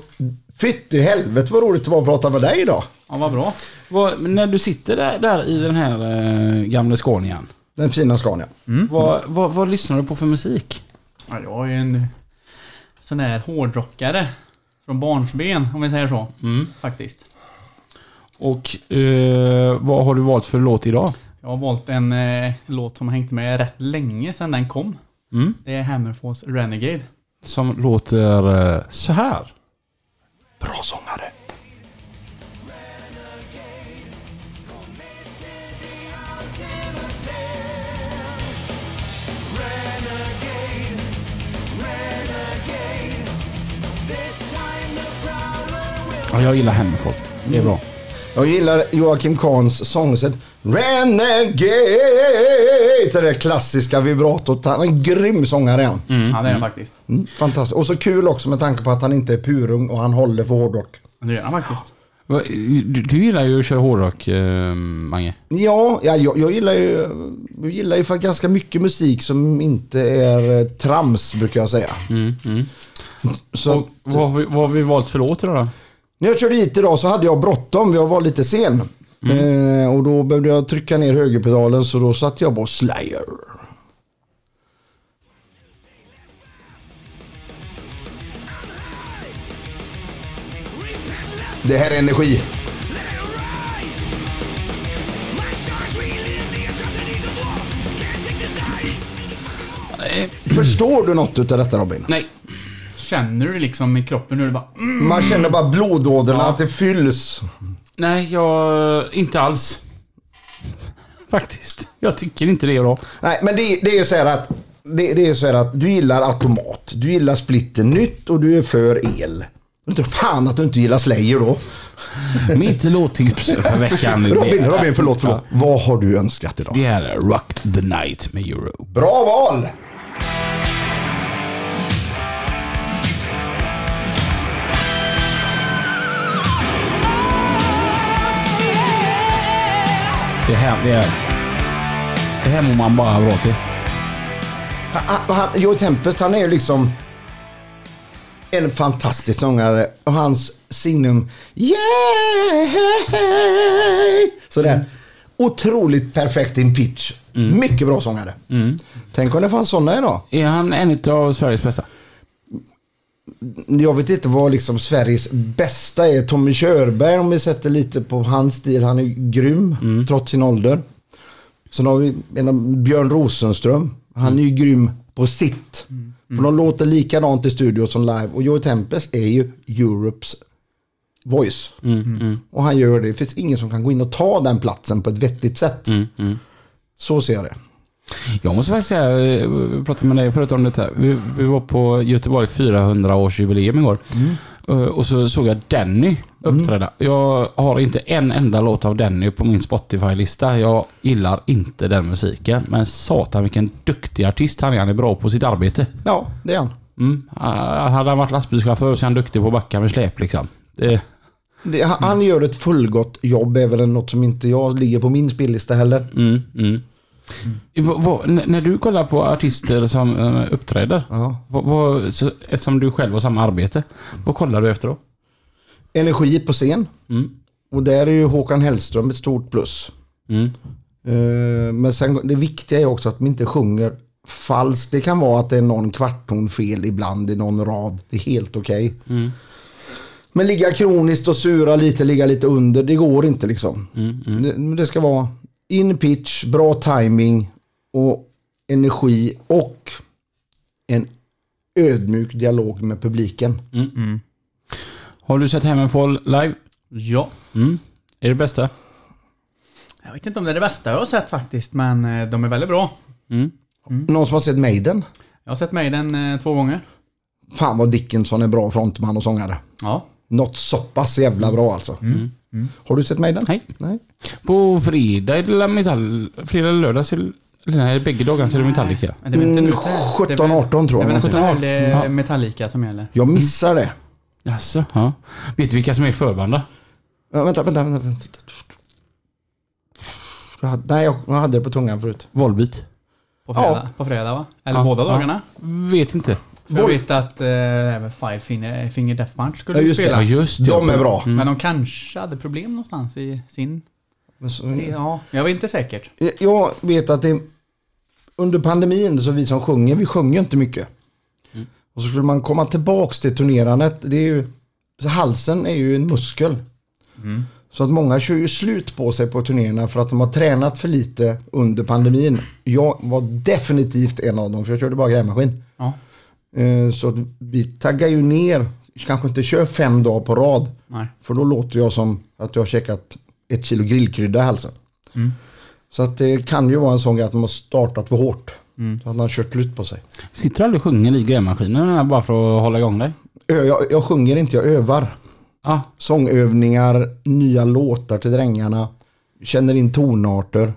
Speaker 1: fytt i helvete vad roligt det var att prata med dig idag.
Speaker 3: Ja, vad bra.
Speaker 2: Vad, men när du sitter där, där i den här eh, gamla Scanian.
Speaker 1: Den fina Scania.
Speaker 2: Vad, vad, vad lyssnar du på för musik?
Speaker 3: Ja, jag är ju en sån där hårdrockare. Från barnsben, om vi säger så. Faktiskt.
Speaker 2: Och eh, vad har du valt för låt idag?
Speaker 3: Jag har valt en eh, låt som har hängt med rätt länge sedan den kom.
Speaker 2: Mm.
Speaker 3: Det är Hammerfalls Renegade.
Speaker 2: Som låter eh, så här.
Speaker 1: Bra sångare.
Speaker 2: Ja, jag gillar Hammerfall. Det är bra.
Speaker 1: Jag gillar Joakim Kahns sångsätt. Renegade! Det där klassiska vibratot. Han är en grym sångare han.
Speaker 3: Ja, det är den faktiskt.
Speaker 1: Mm, fantastiskt. Och så kul också med tanke på att han inte är purung och han håller för hårdrock.
Speaker 3: Det är den faktiskt.
Speaker 2: Va, Du, du gillar ju att köra hårdrock, eh, Mange.
Speaker 1: Ja, ja jag, jag gillar ju, jag gillar ju för ganska mycket musik som inte är eh, trams brukar jag säga. Så
Speaker 2: Och vad, har vi- vad har vi valt för låt idag då?
Speaker 1: när jag körde hit idag så hade jag bråttom, jag var lite sen. Eh, och då behövde jag trycka ner högerpedalen så då satte jag på Slayer. Det här är energi.
Speaker 2: Nej.
Speaker 1: Förstår du något utav detta Robin?
Speaker 2: Nej.
Speaker 3: Känner du liksom i kroppen hur du bara... Mm.
Speaker 1: Man känner bara blodådrorna, att det fylls.
Speaker 2: Nej, jag... Inte alls. Faktiskt. Jag tycker inte det är bra.
Speaker 1: Nej, men det, det är ju så här att... Det, det är så här att du gillar automat, du gillar splitter nytt och du är för el. Jag tror fan att du inte gillar Slayer då.
Speaker 2: Mitt låttips för veckan.
Speaker 1: Robin, Robin, förlåt, förlåt. Vad har du önskat idag?
Speaker 2: Det är Rock the Night med Euro.
Speaker 1: Bra val!
Speaker 2: Det här, det är... Det här mår man bara bra till.
Speaker 1: Han, han, Joe Tempest, han är ju liksom en fantastisk sångare och hans signum Yeah! Sådär. Otroligt perfekt in pitch. Mycket bra sångare. Tänk om det fanns sådana idag.
Speaker 2: Är han en av Sveriges bästa?
Speaker 1: Jag vet inte vad liksom Sveriges bästa är. Tommy Körberg om vi sätter lite på hans stil. Han är grym trots sin ålder. Sen har vi en av Björn Rosenström. Han är ju grym på sitt. För de låter likadant i studio som live. Och Joey Tempest är ju Europes voice. Och han gör det. Det finns ingen som kan gå in och ta den platsen på ett vettigt sätt. Så ser jag det.
Speaker 2: Jag måste faktiskt säga, eh, vi pratade med dig förut om detta. Vi, vi var på Göteborg 400-årsjubileum igår. Eh, Och så såg jag Danny uppträda. Jag har inte en enda låt av Danny på min Spotify-lista. Jag gillar inte den musiken. Men satan vilken duktig artist han är. Han är bra på sitt arbete.
Speaker 1: Ja, det är han.
Speaker 2: Mm. Ah, Hade han varit lastbilschaufför så är han duktig på att backa med släp liksom. Det,
Speaker 1: Det, han, han gör ett fullgott jobb. Är väl något som inte jag ligger på min spellista heller.
Speaker 2: mm, mm. Vad- vad- n- när du kollar på artister som eh, uppträder,
Speaker 1: Ja.
Speaker 2: vad, vad, så, eftersom du själv har samma arbete, vad kollar du efter då?
Speaker 1: energi på scen. Och där är ju Håkan Hellström ett stort plus.
Speaker 2: Mm.
Speaker 1: Eh, Men sen, det viktiga är också att man inte sjunger falskt. Det kan vara att det är någon kvartton fel ibland i någon rad. Det är helt okej. Men ligga kroniskt och sura lite, ligga lite under. Det går inte liksom. Det, men det ska vara in pitch, bra timing och energi och en ödmjuk dialog med publiken.
Speaker 2: Har du sett Hammerfall live?
Speaker 3: Ja.
Speaker 2: Mm. Är det bästa?
Speaker 3: Jag vet inte om det är det bästa jag har sett faktiskt, men eh, de är väldigt bra.
Speaker 1: Någon som har sett Maiden?
Speaker 3: Jag har sett mig den eh, två gånger.
Speaker 1: Fan vad Dickinson är bra frontman och sångare.
Speaker 3: Ja.
Speaker 1: Något så pass jävla bra alltså.
Speaker 3: Mm.
Speaker 1: Har du sett Maiden?
Speaker 2: Nej.
Speaker 1: Nej.
Speaker 2: På fredag är det la metall... Fredag eller lördag så är det... Eller nej, bägge dagarna så är det Metallica.
Speaker 3: Men det är väl inte
Speaker 1: Mm,
Speaker 3: nu det är-
Speaker 1: 17, 18 tror
Speaker 3: Det är väl
Speaker 1: jag.
Speaker 3: inte
Speaker 2: någonting.
Speaker 3: det är
Speaker 2: Ja.
Speaker 3: Metallica som gäller.
Speaker 1: Jag missar det.
Speaker 2: Jaså? Ja. Vet du vilka som är förbanda?
Speaker 1: Ja, vänta, vänta, vänta. vänta. Jag hade, nej, jag jag hade det på tungan förut.
Speaker 2: Volbeat.
Speaker 3: På fredag, på fredag va? Eller
Speaker 2: Ja,
Speaker 3: båda
Speaker 2: ja.
Speaker 3: dagarna?
Speaker 2: Vet inte.
Speaker 3: För jag vet att eh, även Five Finger, Finger Death Punch skulle
Speaker 1: Ja,
Speaker 3: ju
Speaker 1: just det.
Speaker 3: spela.
Speaker 2: Ja, just det.
Speaker 1: De är bra.
Speaker 3: Men de kanske hade problem någonstans i sin...
Speaker 1: Men så-
Speaker 2: Mm.
Speaker 3: Ja, jag vet inte säkert.
Speaker 1: Eh, Jag vet att det under pandemin så vi som sjunger, vi sjunger inte mycket. Och så skulle man komma tillbaks till turnerandet. Det är ju, så halsen är ju en muskel. Så att många kör ju slut på sig på turnéerna för att de har tränat för lite under pandemin. Jag var definitivt en av dem för jag körde bara grävmaskin.
Speaker 3: Ja.
Speaker 1: Eh, Så att vi taggar ju ner, kanske inte kör fem dagar på rad.
Speaker 3: Nej.
Speaker 1: För då låter jag som att jag har käkat ett kilo grillkrydda i halsen. Så att det kan ju vara en sån grej att man har startat för hårt. Så att man har kört slut på sig.
Speaker 2: Sitter du aldrig och sjunger i grävmaskinen bara för att hålla igång dig? Mm.
Speaker 1: Ö, Jag, jag sjunger inte, jag övar.
Speaker 2: Ja,
Speaker 1: Sångövningar, nya låtar till drängarna. Känner in tonarter.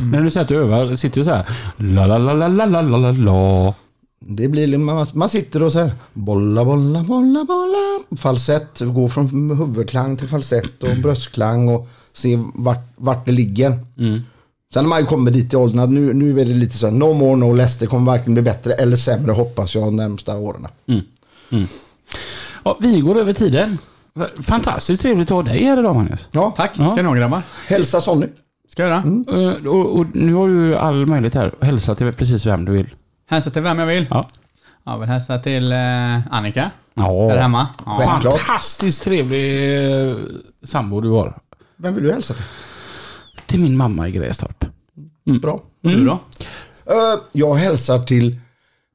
Speaker 2: När du säger att du övar, sitter du så här? La, la, la, la, la, la, la, la, la.
Speaker 1: Det blir, man, man sitter och så här bolla, bolla, bolla, bolla. Falsett, gå från huvudklang till falsett och bröstklang och se vart, vart det ligger. Sen när man ju kommer dit i åldern, att nu, nu är det lite så här, no more, no less. Det kommer varken bli bättre eller sämre hoppas jag de närmsta åren.
Speaker 2: Ja, vi går över tiden. Fantastiskt trevligt att ha dig här idag Magnus.
Speaker 1: Ja,
Speaker 3: Tack
Speaker 2: Ja.
Speaker 3: ska ni ha grabbar.
Speaker 1: hälsa Sonny.
Speaker 3: Ska jag göra.
Speaker 2: Eh, Och, och nu har du ju all möjlighet här att hälsa till precis vem du vill.
Speaker 3: Hälsa till vem jag vill.
Speaker 2: Ja.
Speaker 3: Jag vill hälsa till eh, Annika. Där
Speaker 2: ja.
Speaker 3: hemma. Ja.
Speaker 1: Självklart.
Speaker 2: Fantastiskt trevlig eh, sambo du har.
Speaker 1: Vem vill du hälsa till?
Speaker 2: Till min mamma i Grästorp.
Speaker 1: Bra.
Speaker 2: Mm.
Speaker 3: Du då?
Speaker 1: Eh, Jag hälsar till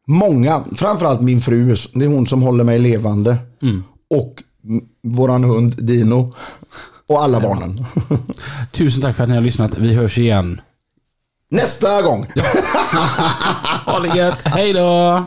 Speaker 1: många, framförallt min fru. Det är hon som håller mig levande. Och m- våran hund Dino. Och alla barnen.
Speaker 2: Tusen tack för att ni har lyssnat. Vi hörs igen.
Speaker 1: Nästa gång!
Speaker 2: Ha det gött. Hej då!